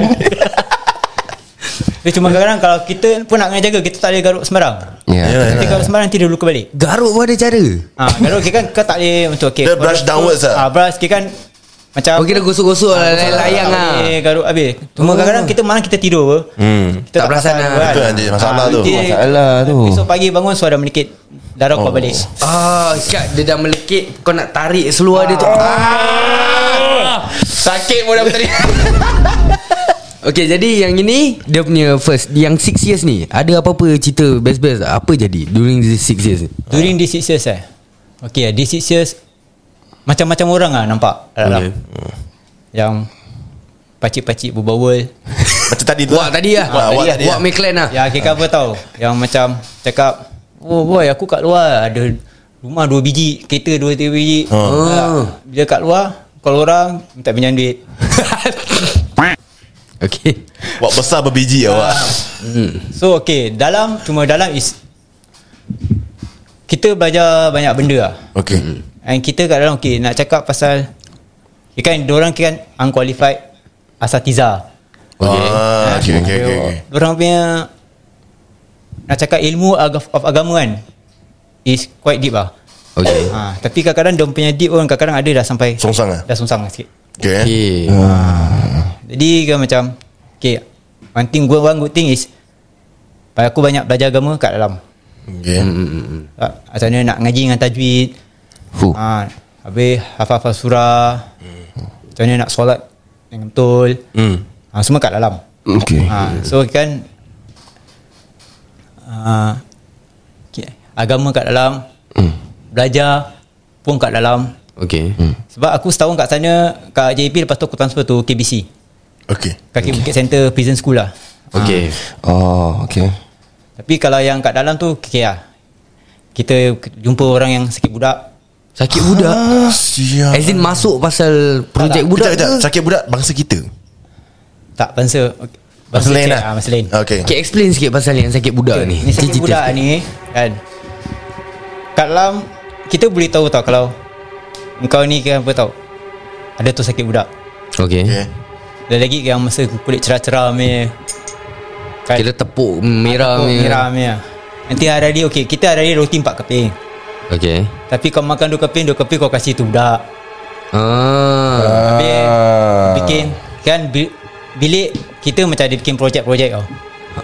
[SPEAKER 8] Dia cuma kadang-kadang Kalau kita pun nak kena jaga Kita tak boleh garuk sembarang
[SPEAKER 4] Ya,
[SPEAKER 9] Ya,
[SPEAKER 7] Yalah,
[SPEAKER 8] Nanti
[SPEAKER 7] yalah.
[SPEAKER 8] kalau sembarang Nanti dia luka balik
[SPEAKER 3] Garuk pun ada cara.
[SPEAKER 8] ha, Kalau kira kan Kau tak boleh Untuk okay,
[SPEAKER 7] Dia brush downwards lah.
[SPEAKER 8] ha, Brush kira kan Macam
[SPEAKER 3] Oh, kira gosok-gosok lah. Layang lah. Oh.
[SPEAKER 8] Eh garuk habis Cuma kadang-kadang Kita malam kita tidur apa
[SPEAKER 7] Hmm.
[SPEAKER 8] Kita
[SPEAKER 3] Tak perasan
[SPEAKER 8] perasan
[SPEAKER 3] lah.
[SPEAKER 8] apa
[SPEAKER 7] Betul, Anji, masalah tu.
[SPEAKER 8] nanti
[SPEAKER 9] Masalah tu
[SPEAKER 8] Esok pagi bangun Suara dah melekit Darah
[SPEAKER 7] Oh.
[SPEAKER 8] kau balik
[SPEAKER 3] Ah, kat dia dah melekit kau nak tarik seluar dia tu. Ah. Sakit pun dah tadi. Okay jadi yang ini Dia punya first Yang 6 years ni Ada apa-apa cerita Best-best tak? Apa jadi During these 6 years ni
[SPEAKER 8] During these six years eh Okay these six years Macam-macam orang lah nampak okay. Yang Pacik-pacik berbawal
[SPEAKER 7] Macam tadi tu
[SPEAKER 3] Wak tadi lah
[SPEAKER 7] Wak, wak tadi
[SPEAKER 3] Wak
[SPEAKER 7] lah.
[SPEAKER 3] McLaren lah
[SPEAKER 8] Ya kira apa tau Yang macam Cakap Oh boy aku kat luar Ada rumah dua biji Kereta dua tiga biji
[SPEAKER 3] Ha.
[SPEAKER 7] Oh.
[SPEAKER 8] Ah, Bila kat luar Kalau orang Minta pinjam duit
[SPEAKER 3] Okay
[SPEAKER 7] Wak besar berbiji lah wak
[SPEAKER 3] Hmm.
[SPEAKER 8] So okay Dalam Cuma dalam is Kita belajar Banyak benda lah
[SPEAKER 7] Okay
[SPEAKER 8] And kita kat dalam Okay nak cakap pasal Ya kan Diorang kan Unqualified Asatiza
[SPEAKER 7] Okay Okay okay okay, okay.
[SPEAKER 8] Diorang punya Nak cakap ilmu ag- Of agama kan Is quite deep lah
[SPEAKER 3] Okay
[SPEAKER 8] ha, Tapi kadang-kadang Diorang punya deep pun Kadang-kadang ada dah sampai
[SPEAKER 7] Songsang lah
[SPEAKER 8] Dah sungsang sikit
[SPEAKER 7] Okay, eh.
[SPEAKER 3] Okay
[SPEAKER 8] Jadi kan macam Okay One thing good, one good thing is Aku banyak belajar agama kat dalam
[SPEAKER 7] okay.
[SPEAKER 8] Ah, Macam mana nak ngaji dengan tajwid
[SPEAKER 3] Fuh.
[SPEAKER 8] ha, Habis hafal-hafal surah Macam mana nak solat Yang betul
[SPEAKER 7] Hmm.
[SPEAKER 8] ha, Semua kat dalam
[SPEAKER 9] Okay
[SPEAKER 8] ha, So kan uh, okay, Agama kat dalam Belajar Pun kat dalam
[SPEAKER 3] Okay
[SPEAKER 8] Sebab aku setahun kat sana Kat JP Lepas tu aku transfer tu KBC
[SPEAKER 7] Okay
[SPEAKER 8] Kaki Bukit Center Prison School lah
[SPEAKER 3] Okay
[SPEAKER 7] Ah.
[SPEAKER 9] Oh okay
[SPEAKER 8] Tapi kalau yang kat dalam tu Okay lah Kita jumpa orang yang sakit budak
[SPEAKER 3] Sakit budak
[SPEAKER 7] Ah, Siap
[SPEAKER 3] As in masuk pasal Projek budak
[SPEAKER 7] Kejap, kejap.
[SPEAKER 3] ke
[SPEAKER 7] Sakit budak bangsa kita
[SPEAKER 8] Tak bangsa okay.
[SPEAKER 7] Bangsa lain
[SPEAKER 8] cek,
[SPEAKER 7] lah
[SPEAKER 8] ah, Bangsa lain
[SPEAKER 7] Okay
[SPEAKER 3] Okay explain sikit pasal yang sakit budak ni
[SPEAKER 8] Ni sakit
[SPEAKER 3] Cerita
[SPEAKER 8] budak
[SPEAKER 3] sikit.
[SPEAKER 8] ni Kan Kat dalam Kita boleh tahu tau Kalau Engkau ni kan apa tau Ada tu sakit budak
[SPEAKER 3] Okay
[SPEAKER 7] Okay
[SPEAKER 8] Dan lagi yang masa kulit cerah-cerah ni Kan
[SPEAKER 3] Kira tepuk merah
[SPEAKER 8] Oh,
[SPEAKER 3] ni.
[SPEAKER 8] merah ni lah. Nanti hari hari Okay kita hari hari roti empat keping
[SPEAKER 3] Okay
[SPEAKER 8] Tapi kau makan dua keping Dua keping kau kasih tu budak Uh.
[SPEAKER 3] Ah,
[SPEAKER 8] Habis Bikin Kan bi- Bilik Kita macam ada bikin projek-projek tau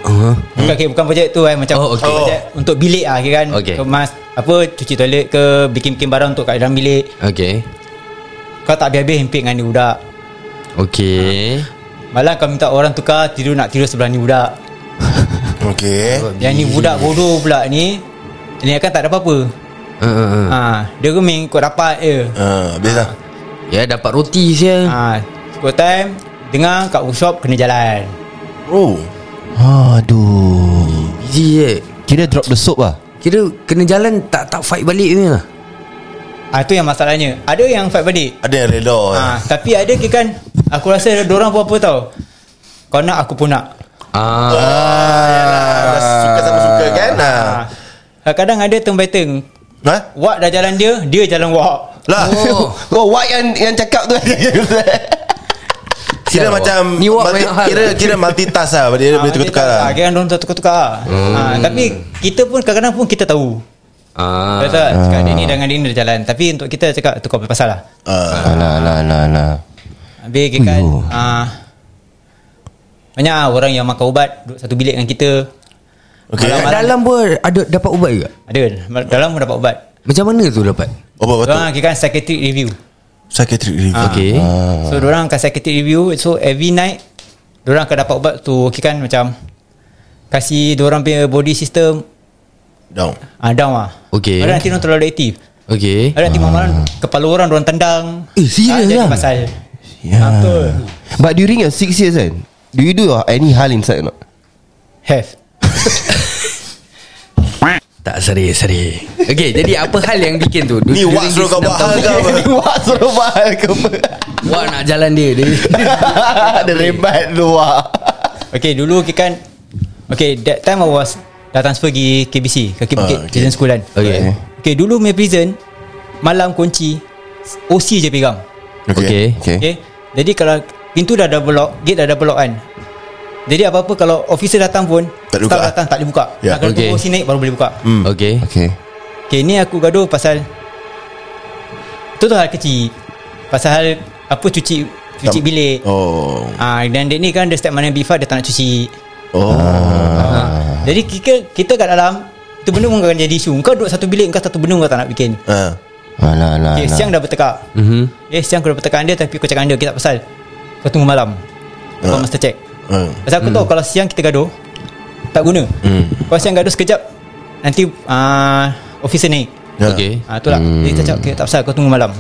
[SPEAKER 3] uh,
[SPEAKER 8] Bukan, okay, bukan projek tu eh Macam
[SPEAKER 3] Oh, okay.
[SPEAKER 8] projek Untuk bilik lah kira kan
[SPEAKER 3] Okay.
[SPEAKER 8] Kemas Apa Cuci toilet ke Bikin-bikin barang untuk kat dalam bilik
[SPEAKER 3] okay,
[SPEAKER 8] Kau tak habis-habis Hempik dengan ni budak
[SPEAKER 3] okay,
[SPEAKER 8] Malah kau minta orang tukar Tidur nak tidur sebelah ni budak
[SPEAKER 7] Okay
[SPEAKER 8] Yang ni budak bodoh pula ni Ni akan tak ada apa-apa
[SPEAKER 3] uh, uh, uh.
[SPEAKER 8] ha, Dia geming Kau dapat je
[SPEAKER 7] Ah, Habis lah
[SPEAKER 3] Ya dapat roti saya.
[SPEAKER 8] ha, Cukup time Dengar kat workshop Kena jalan
[SPEAKER 7] Oh
[SPEAKER 9] Aduh
[SPEAKER 3] Busy je.
[SPEAKER 9] Kira drop the soap lah
[SPEAKER 3] Kira kena jalan tak tak fight balik ni lah.
[SPEAKER 8] Ah ha, tu yang masalahnya Ada yang fight balik
[SPEAKER 7] Ada yang reda
[SPEAKER 3] Ah,
[SPEAKER 7] eh.
[SPEAKER 8] ha, Tapi ada ke kan Aku rasa Diorang pun apa tau Kau nak aku pun nak
[SPEAKER 3] Ah, lah.
[SPEAKER 7] Ah, Suka sama suka kan Ah.
[SPEAKER 8] ha. Kadang-kadang ada turn by turn
[SPEAKER 7] Ha?
[SPEAKER 8] Wak dah jalan dia Dia jalan wak
[SPEAKER 7] Lah
[SPEAKER 3] oh.
[SPEAKER 4] Oh what yang yang cakap tu
[SPEAKER 7] Kira
[SPEAKER 3] Sial,
[SPEAKER 7] macam
[SPEAKER 3] Ni wak
[SPEAKER 7] multi,
[SPEAKER 3] banyak hal. Ah,
[SPEAKER 7] Kira kira multitask lah Dia boleh tukar-tukar lah Hmm.
[SPEAKER 8] ha, Kira orang tukar-tukar lah ha, Tapi Kita pun kadang-kadang pun Kita tahu
[SPEAKER 3] ah.
[SPEAKER 8] Betul tak? Cakap dia ni dengan dia ni dia jalan Tapi untuk kita cakap Tukar pasal lah
[SPEAKER 7] Ah,
[SPEAKER 9] Alah alah alah alah
[SPEAKER 8] Habis kita kan
[SPEAKER 9] Uyuh.
[SPEAKER 8] ah, Banyak lah orang yang makan ubat Duduk satu bilik dengan kita
[SPEAKER 7] Okay
[SPEAKER 3] Kat dalam pun ada dapat ubat juga.
[SPEAKER 8] Ada Dalam pun dapat ubat
[SPEAKER 3] Macam mana tu dapat?
[SPEAKER 7] Obat betul
[SPEAKER 8] Orang kita kan psychiatric review
[SPEAKER 7] Psychiatric review
[SPEAKER 3] Ah.
[SPEAKER 7] Ah,
[SPEAKER 3] Okay.
[SPEAKER 8] So orang akan psychiatric review So every night orang akan dapat ubat tu okay kan macam Kasih orang punya body system
[SPEAKER 7] Down
[SPEAKER 8] ah, Down lah
[SPEAKER 3] Okay.
[SPEAKER 8] Orang nanti orang terlalu aktif
[SPEAKER 3] Okay.
[SPEAKER 8] Orang nanti malam-malam Kepala orang orang tendang
[SPEAKER 3] Eh, serious
[SPEAKER 8] jadi
[SPEAKER 3] lah?
[SPEAKER 8] pasal
[SPEAKER 9] Yeah.
[SPEAKER 8] Betul
[SPEAKER 9] Ya. But during your 6 years kan Do you do any hal inside or not?
[SPEAKER 8] Have
[SPEAKER 3] Tak seri seri. Okay, jadi apa hal yang bikin tu?
[SPEAKER 7] Ni
[SPEAKER 3] During
[SPEAKER 7] wak suruh
[SPEAKER 3] this
[SPEAKER 7] kau
[SPEAKER 3] enam
[SPEAKER 7] buat
[SPEAKER 3] tahun
[SPEAKER 7] hal ke apa
[SPEAKER 9] Wah suruh mahal ke apa
[SPEAKER 3] Wak nak jalan dia. dia.
[SPEAKER 9] Ada rebat tu wah
[SPEAKER 8] Okay dulu okay kan Okay that time I was Dah transfer pergi KBC Kaki
[SPEAKER 7] Ah,
[SPEAKER 8] Bukit
[SPEAKER 7] okay.
[SPEAKER 8] Prison School kan
[SPEAKER 3] Okay.
[SPEAKER 8] Okay dulu punya prison Malam kunci OC je pegang
[SPEAKER 3] Okay.
[SPEAKER 9] Okay
[SPEAKER 8] Okay. Jadi kalau pintu dah double lock, gate dah double lock kan. Jadi apa-apa kalau officer datang pun
[SPEAKER 7] Tak boleh
[SPEAKER 8] staff
[SPEAKER 7] buka.
[SPEAKER 8] datang tak boleh buka.
[SPEAKER 7] Ya,
[SPEAKER 8] Yeah, kalau
[SPEAKER 3] okay.
[SPEAKER 8] okay. tunggu OC naik baru boleh buka.
[SPEAKER 7] Hmm.
[SPEAKER 3] Okay.
[SPEAKER 9] Okay
[SPEAKER 8] Okay, ni aku gaduh pasal tu tu hal kecil. Pasal hal apa cuci cuci
[SPEAKER 7] Tak-
[SPEAKER 8] bilik. Oh.
[SPEAKER 7] Oh
[SPEAKER 8] Ah dan dia ni kan dia step mana before dia tak nak cuci.
[SPEAKER 7] Oh
[SPEAKER 8] Ah. Jadi kita kita kat dalam tu benda pun akan jadi isu. Kau duduk satu bilik kau satu benda kau tak nak bikin.
[SPEAKER 7] Ah.
[SPEAKER 9] Alah alah
[SPEAKER 8] Okay,
[SPEAKER 9] alah
[SPEAKER 8] siang dah bertekak.
[SPEAKER 3] Mhm.
[SPEAKER 8] Eh siang aku dah bertekan dia Tapi aku cakap dengan dia Okay tak pasal Kau tunggu malam Kau
[SPEAKER 7] Ah.
[SPEAKER 8] master check
[SPEAKER 7] Ah.
[SPEAKER 8] Pasal
[SPEAKER 3] Hmm.
[SPEAKER 8] aku tahu kalau siang kita gaduh tak guna. Kalau siang gaduh sekejap nanti ah officer naik.
[SPEAKER 7] Ya.
[SPEAKER 3] Okay
[SPEAKER 8] Ah tu lah. Jadi
[SPEAKER 3] Hmm.
[SPEAKER 8] kita cakap okay, tak pasal kau tunggu malam.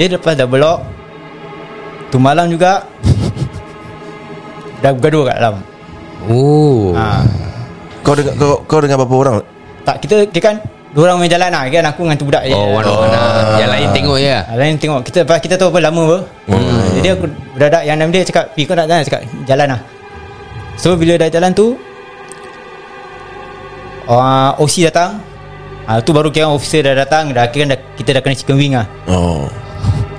[SPEAKER 8] Dia lepas dah belok tu malam juga dah gaduh kat dalam.
[SPEAKER 3] Oh
[SPEAKER 8] Ah
[SPEAKER 7] Kau dengan kau, kau dengan berapa orang?
[SPEAKER 8] tak kita kita kan dua orang main jalan lah kan aku dengan tu budak je.
[SPEAKER 3] Oh one on one lah. Yang lain tengok je lah
[SPEAKER 8] Ah, Lain tengok kita lepas kita tahu apa lama apa. Hmm. Jadi aku beradak yang nama dia cakap, "Pi kau nak jalan?" cakap, "Jalan lah." So bila dah jalan tu uh, OC datang. Ah uh, tu baru kira officer dah datang, dah kira dah, kita dah kena chicken wing ah.
[SPEAKER 7] Oh.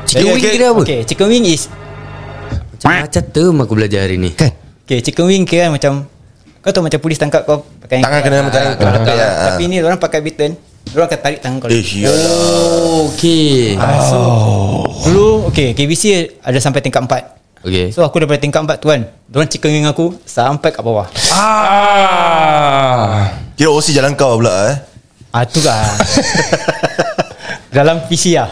[SPEAKER 3] Chicken wing kira apa?
[SPEAKER 8] Okay, chicken wing is
[SPEAKER 3] Macam term aku belajar hari ni Kan
[SPEAKER 8] Okay, chicken wing kira macam kau tahu macam polis tangkap kau pakai
[SPEAKER 7] Tangan kena
[SPEAKER 8] Ah,
[SPEAKER 7] macam-
[SPEAKER 8] kau tangkap
[SPEAKER 7] ah,
[SPEAKER 8] lah.
[SPEAKER 7] ah.
[SPEAKER 8] Tapi ni orang pakai bitten, orang akan tarik tangan kau.
[SPEAKER 7] Eh, sialah.
[SPEAKER 3] Okay
[SPEAKER 7] Ah.
[SPEAKER 8] Dulu okay, KBC ada sampai tingkat 4.
[SPEAKER 3] Okay
[SPEAKER 8] So aku daripada tingkat 4 tu kan Diorang chicken wing aku Sampai kat bawah
[SPEAKER 3] Ah
[SPEAKER 7] Kira OC jalan kau pula eh.
[SPEAKER 8] Ah tu lah Dalam PC lah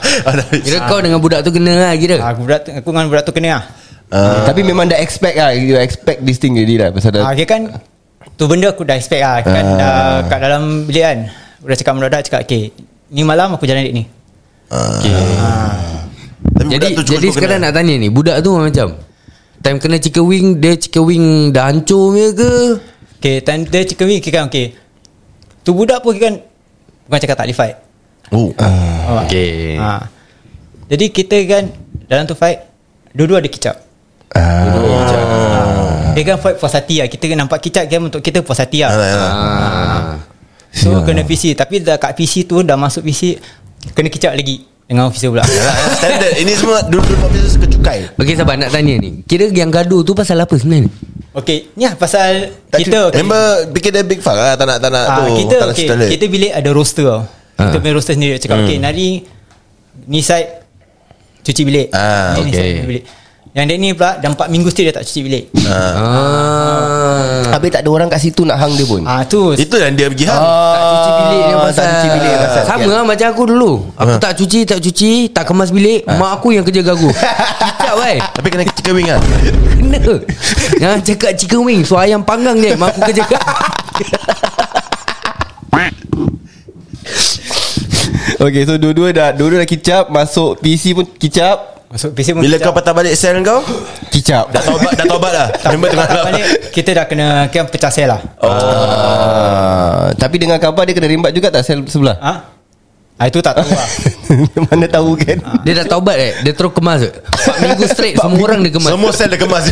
[SPEAKER 3] Kira kau dengan budak tu kena lah kira
[SPEAKER 8] ah, aku, budak tu, aku dengan budak tu kena lah
[SPEAKER 9] Eh,
[SPEAKER 4] Uh, Tapi memang dah expect lah You expect this thing jadi lah Pasal dah
[SPEAKER 8] ah, Dia kan Tu benda aku dah expect lah kan,
[SPEAKER 4] Ah.
[SPEAKER 8] dah, Kat dalam bilik kan Aku dah cakap dengan budak cakap Okay Ni malam aku jalan dek ni
[SPEAKER 7] Ah. Tapi
[SPEAKER 3] Jadi
[SPEAKER 7] budak tu cuma
[SPEAKER 3] jadi
[SPEAKER 7] kau
[SPEAKER 3] sekarang
[SPEAKER 7] kena.
[SPEAKER 3] nak tanya ni Budak tu macam Time kena chicken wing Dia chicken wing dah hancur punya ke
[SPEAKER 8] Okay time dia chicken wing okay, kan okay Tu budak pun okay, kan Bukan cakap tak boleh fight
[SPEAKER 7] Oh.
[SPEAKER 8] Faham tak?
[SPEAKER 3] Okay.
[SPEAKER 8] ah. Jadi kita kan Dalam tu fight Dua-dua ada kicap Ah. Dia kan fight puas hati lah Kita kan nampak kicap Dia untuk kita puas hati
[SPEAKER 7] Alah,
[SPEAKER 8] lah
[SPEAKER 7] alah.
[SPEAKER 3] ah.
[SPEAKER 7] Ya.
[SPEAKER 8] So kena PC Tapi dah kat PC tu Dah masuk PC Kena kicap lagi Dengan officer pula
[SPEAKER 7] Alah, eh, Standard Ini semua Dulu-dulu Papi suka cukai
[SPEAKER 3] Okay sabar nak tanya ni Kira yang gaduh tu pasal apa sebenarnya
[SPEAKER 8] Okay Ni lah pasal
[SPEAKER 7] Tak cu-
[SPEAKER 8] Kita
[SPEAKER 7] Remember Fikir dia big fuck lah Tak nak Tak nak
[SPEAKER 8] Ah,
[SPEAKER 7] tu
[SPEAKER 8] kita
[SPEAKER 7] Tak nak
[SPEAKER 8] okay,
[SPEAKER 7] standard
[SPEAKER 8] kita bilik ada roster tau. Kita
[SPEAKER 3] Ah.
[SPEAKER 8] punya roster sendiri cakap okay
[SPEAKER 7] Hmm.
[SPEAKER 8] nari ni side cuci bilik.
[SPEAKER 7] Ah,
[SPEAKER 8] Ni ni
[SPEAKER 3] okay.
[SPEAKER 8] side cuci bilik. Yang dek ni pula dah 4 minggu still dia tak cuci bilik.
[SPEAKER 7] Hmm.
[SPEAKER 3] Ah.
[SPEAKER 4] Habis tak ada orang kat situ nak hang dia pun
[SPEAKER 8] Ah tu
[SPEAKER 7] Itu yang dia pergi hang
[SPEAKER 3] Tak cuci bilik dia
[SPEAKER 4] Ah,
[SPEAKER 3] pasal,
[SPEAKER 4] tak cuci bilik pasal. Ah.
[SPEAKER 3] Sama lah macam aku dulu Aku tak cuci Tak cuci Tak kemas bilik Mak aku yang kerja gagu Kicap eh
[SPEAKER 7] Tapi kena chicken wing lah
[SPEAKER 3] Kena Jangan cakap chicken wing So ayam panggang je Mak aku kerja
[SPEAKER 4] Okay so dua-dua dah Dua-dua dah kicap Masuk PC pun kicap
[SPEAKER 8] masuk PC pun
[SPEAKER 7] Bila
[SPEAKER 8] kicap.
[SPEAKER 7] kau patah balik sel kau
[SPEAKER 4] Kicap
[SPEAKER 7] Dah taubat Dah taubat dah Remember tengah
[SPEAKER 8] Patah
[SPEAKER 7] malam
[SPEAKER 8] balik kita dah kena kan pecah sel lah.
[SPEAKER 4] Ah, Tapi dengan khabar dia kena rimbat juga tak Sel sebelah
[SPEAKER 8] Ha? Ah itu tak tahu lah.
[SPEAKER 4] Mana tahu kan
[SPEAKER 3] Dia dah taubat eh Dia terus kemas 4 minggu straight Semua orang dia kemas
[SPEAKER 7] Semua sel dia kemas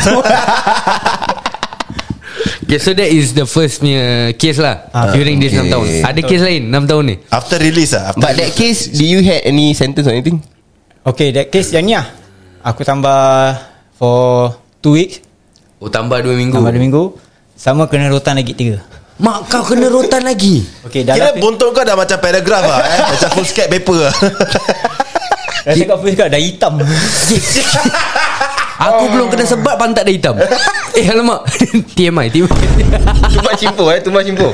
[SPEAKER 3] Okay so that is the first punya Case lah
[SPEAKER 4] Ah.
[SPEAKER 3] During this 6 tahun Ada case lain 6 tahun ni
[SPEAKER 7] After release lah after
[SPEAKER 4] But that
[SPEAKER 7] release.
[SPEAKER 4] case Do you had any sentence or anything
[SPEAKER 8] Okay that case yang ni lah. Aku tambah for 2 weeks,
[SPEAKER 3] Oh tambah 2 minggu
[SPEAKER 8] tambah 2 minggu. Sama kena rotan lagi 3.
[SPEAKER 3] Mak kau kena rotan lagi
[SPEAKER 8] Okay dah
[SPEAKER 7] Kira
[SPEAKER 8] lah-
[SPEAKER 7] bontot kau dah macam paragraf lah eh? Macam full skate paper lah
[SPEAKER 8] Dah cakap first card dah hitam.
[SPEAKER 3] Aku belum kena sebab Pantat dah hitam Eh alamak TMI TMI
[SPEAKER 4] Tumpas cimpo eh Tumpas cimpo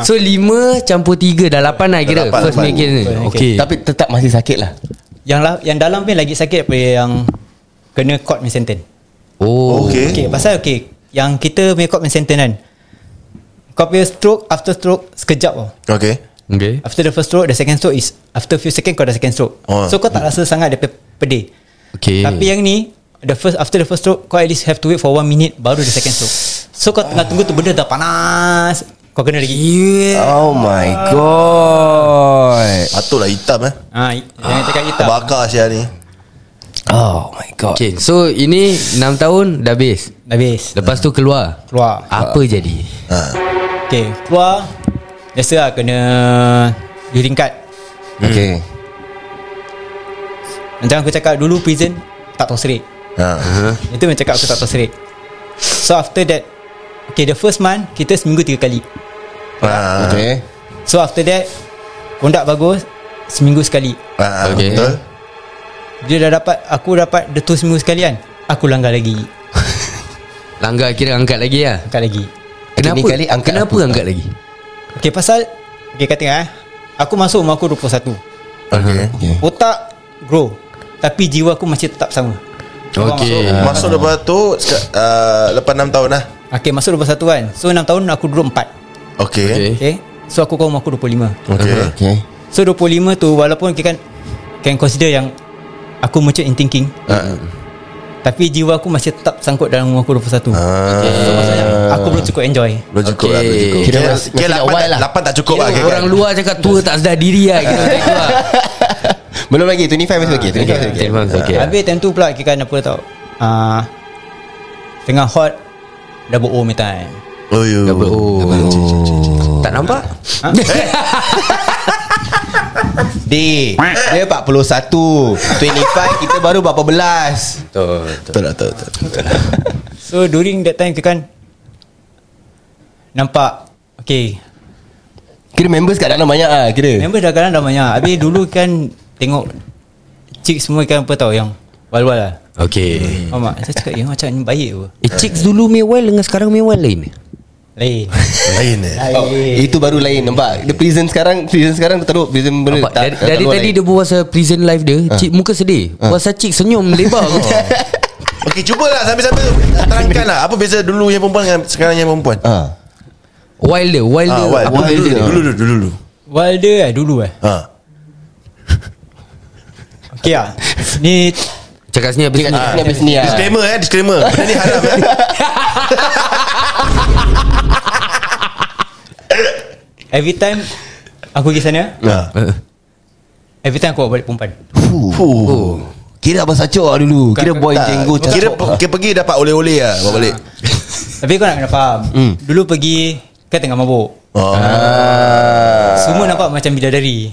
[SPEAKER 3] So 5 campur 3 Dah 8 lah kira
[SPEAKER 7] lapan,
[SPEAKER 3] First punya
[SPEAKER 7] lapan.
[SPEAKER 3] case ni
[SPEAKER 8] First punya
[SPEAKER 3] Okay
[SPEAKER 4] Tapi tetap masih sakit lah
[SPEAKER 8] Yang la, yang dalam pun lagi sakit daripada yang kena court main sentence.
[SPEAKER 3] Oh
[SPEAKER 7] Okay.
[SPEAKER 8] Okey, pasal okey, yang kita punya court main sentence kan. Kau punya stroke after stroke sekejap tau.
[SPEAKER 7] Okay
[SPEAKER 3] Okay
[SPEAKER 8] After the first stroke, the second stroke is after few second kau dah second stroke.
[SPEAKER 7] Oh.
[SPEAKER 8] So kau tak rasa sangat dia punya pedih.
[SPEAKER 3] Okay
[SPEAKER 8] Tapi yang ni the first after the first stroke kau at least have to wait for one minute baru the second stroke. So kau tengah tunggu tu benda dah panas. Kau kena lagi.
[SPEAKER 3] Yeah
[SPEAKER 4] Oh my god
[SPEAKER 7] Patutlah hitam eh
[SPEAKER 8] Ah, jangan cakap hitam.
[SPEAKER 7] Terbakar Syah ni
[SPEAKER 4] Oh my god
[SPEAKER 3] Okay so ini 6 tahun dah habis
[SPEAKER 8] Dah habis.
[SPEAKER 3] Lepas tu keluar
[SPEAKER 8] Keluar.
[SPEAKER 3] Apa jadi
[SPEAKER 7] Ha.
[SPEAKER 8] Okay Keluar Biasa lah kena Hearing card
[SPEAKER 4] Okay
[SPEAKER 8] Macam aku cakap dulu prison Tak tahu serik
[SPEAKER 7] Ha.
[SPEAKER 8] Itu yang cakap aku tak tahu serik So after that Okay the first month Kita seminggu tiga kali
[SPEAKER 7] Ha.
[SPEAKER 4] Okay
[SPEAKER 8] So after that Kondak bagus Seminggu sekali
[SPEAKER 7] Ha.
[SPEAKER 3] Okay.
[SPEAKER 7] Betul
[SPEAKER 8] Dia dah dapat Aku dapat Dia tu seminggu sekali kan Aku langgar lagi
[SPEAKER 3] Langgar kira angkat lagi lah
[SPEAKER 8] Angkat lagi
[SPEAKER 3] Kenapa
[SPEAKER 4] ni kali angkat
[SPEAKER 3] Kenapa
[SPEAKER 4] apa?
[SPEAKER 3] angkat lagi
[SPEAKER 8] Okay pasal Okay kata eh Aku masuk umur aku 21
[SPEAKER 7] Okay
[SPEAKER 8] Otak grow Tapi jiwa aku masih tetap sama
[SPEAKER 3] Okay.
[SPEAKER 7] Masuk lepas tu seka- uh, Lepas 6 tahun lah
[SPEAKER 8] Okay masa 21 kan So 6 tahun aku duduk
[SPEAKER 7] Okay
[SPEAKER 8] 4
[SPEAKER 3] Okay. Uh-huh.
[SPEAKER 8] Okay So aku kaum aku 25
[SPEAKER 7] Okay
[SPEAKER 9] Okay
[SPEAKER 8] So 25 tu Walaupun kita kan Can consider yang Aku mature in thinking
[SPEAKER 7] Ah.
[SPEAKER 8] Tapi jiwa aku masih tetap sangkut dalam umur aku
[SPEAKER 7] Ah,
[SPEAKER 8] 21 So maksudnya Aku belum cukup enjoy
[SPEAKER 7] Belum cukup lah belum
[SPEAKER 3] Okay.
[SPEAKER 7] cukup.
[SPEAKER 9] Kira
[SPEAKER 7] Kira
[SPEAKER 9] masih- masih
[SPEAKER 7] kira
[SPEAKER 9] nak
[SPEAKER 7] lapan
[SPEAKER 9] wild
[SPEAKER 7] tak-
[SPEAKER 9] lah.
[SPEAKER 7] lapan tak cukup lah
[SPEAKER 3] Kira
[SPEAKER 7] kira-
[SPEAKER 3] orang luar cakap tua tak sedar diri lah kira macam tu lah.
[SPEAKER 4] Belum lagi 25 masih
[SPEAKER 3] Okay,
[SPEAKER 4] okay 25 masih okay
[SPEAKER 3] okay, okay. okay.
[SPEAKER 8] Habis time tu pula Kita kan apa tau uh, Tengah hot Double O me time
[SPEAKER 7] Oh yo.
[SPEAKER 3] Tak nampak?
[SPEAKER 4] D Dia 41 25 kita baru berapa belas
[SPEAKER 7] Betul lah betul betul.
[SPEAKER 8] So during that time kita kan Nampak Okay
[SPEAKER 4] Kira members kat dalam banyak lah Kira
[SPEAKER 8] Member dah kadang dah banyak Habis dulu kan Tengok Cik semua kan apa tau Yang wal-wal lah
[SPEAKER 3] Okay.
[SPEAKER 7] Hmm.
[SPEAKER 8] Faham tak? Saya cakap Ya macam ni baik apa
[SPEAKER 3] Eh, chicks dulu mewah dengan sekarang mewah lain.
[SPEAKER 8] Lain
[SPEAKER 7] Lain eh.
[SPEAKER 4] Oh, itu baru lain nampak The prison sekarang Prison sekarang teruk Prison benda
[SPEAKER 3] Nampak, dari, dari tadi dia buat pasal prison life dia Cik muka sedih Pasal cik senyum lebar Oh. kau
[SPEAKER 7] Okey cubalah sambil-sambil terangkan lah apa beza dulu yang perempuan dengan sekarang yang perempuan.
[SPEAKER 4] ha.
[SPEAKER 3] Wilder Wilder
[SPEAKER 7] Ah, why,
[SPEAKER 3] apa
[SPEAKER 7] why dulu,
[SPEAKER 3] beza?
[SPEAKER 7] dulu dulu dulu dulu.
[SPEAKER 8] Wilder lah dulu eh
[SPEAKER 7] Ha.
[SPEAKER 8] Okay
[SPEAKER 4] ya.
[SPEAKER 8] lah Ni
[SPEAKER 3] Cakap sini habis ni
[SPEAKER 4] Ni habis ni lah
[SPEAKER 7] Disclaimer eh disclaimer. Benda ni haram eh.
[SPEAKER 8] Every time Aku pergi sana
[SPEAKER 4] Ah.
[SPEAKER 7] Ha.
[SPEAKER 3] Ah.
[SPEAKER 8] Every time aku bawa balik perempuan
[SPEAKER 4] Fuh. Kira abang sacok lah dulu Kira boy
[SPEAKER 7] Tak,
[SPEAKER 4] jenggo
[SPEAKER 7] Ah, Kira
[SPEAKER 4] cacok
[SPEAKER 7] pe- kira pergi dapat oleh-oleh lah bawa balik.
[SPEAKER 8] Tapi kau nak kena faham
[SPEAKER 4] Hmm.
[SPEAKER 8] Dulu pergi Kan tengah mabuk
[SPEAKER 4] Ah.
[SPEAKER 7] Oh.
[SPEAKER 8] Semua nampak macam bidadari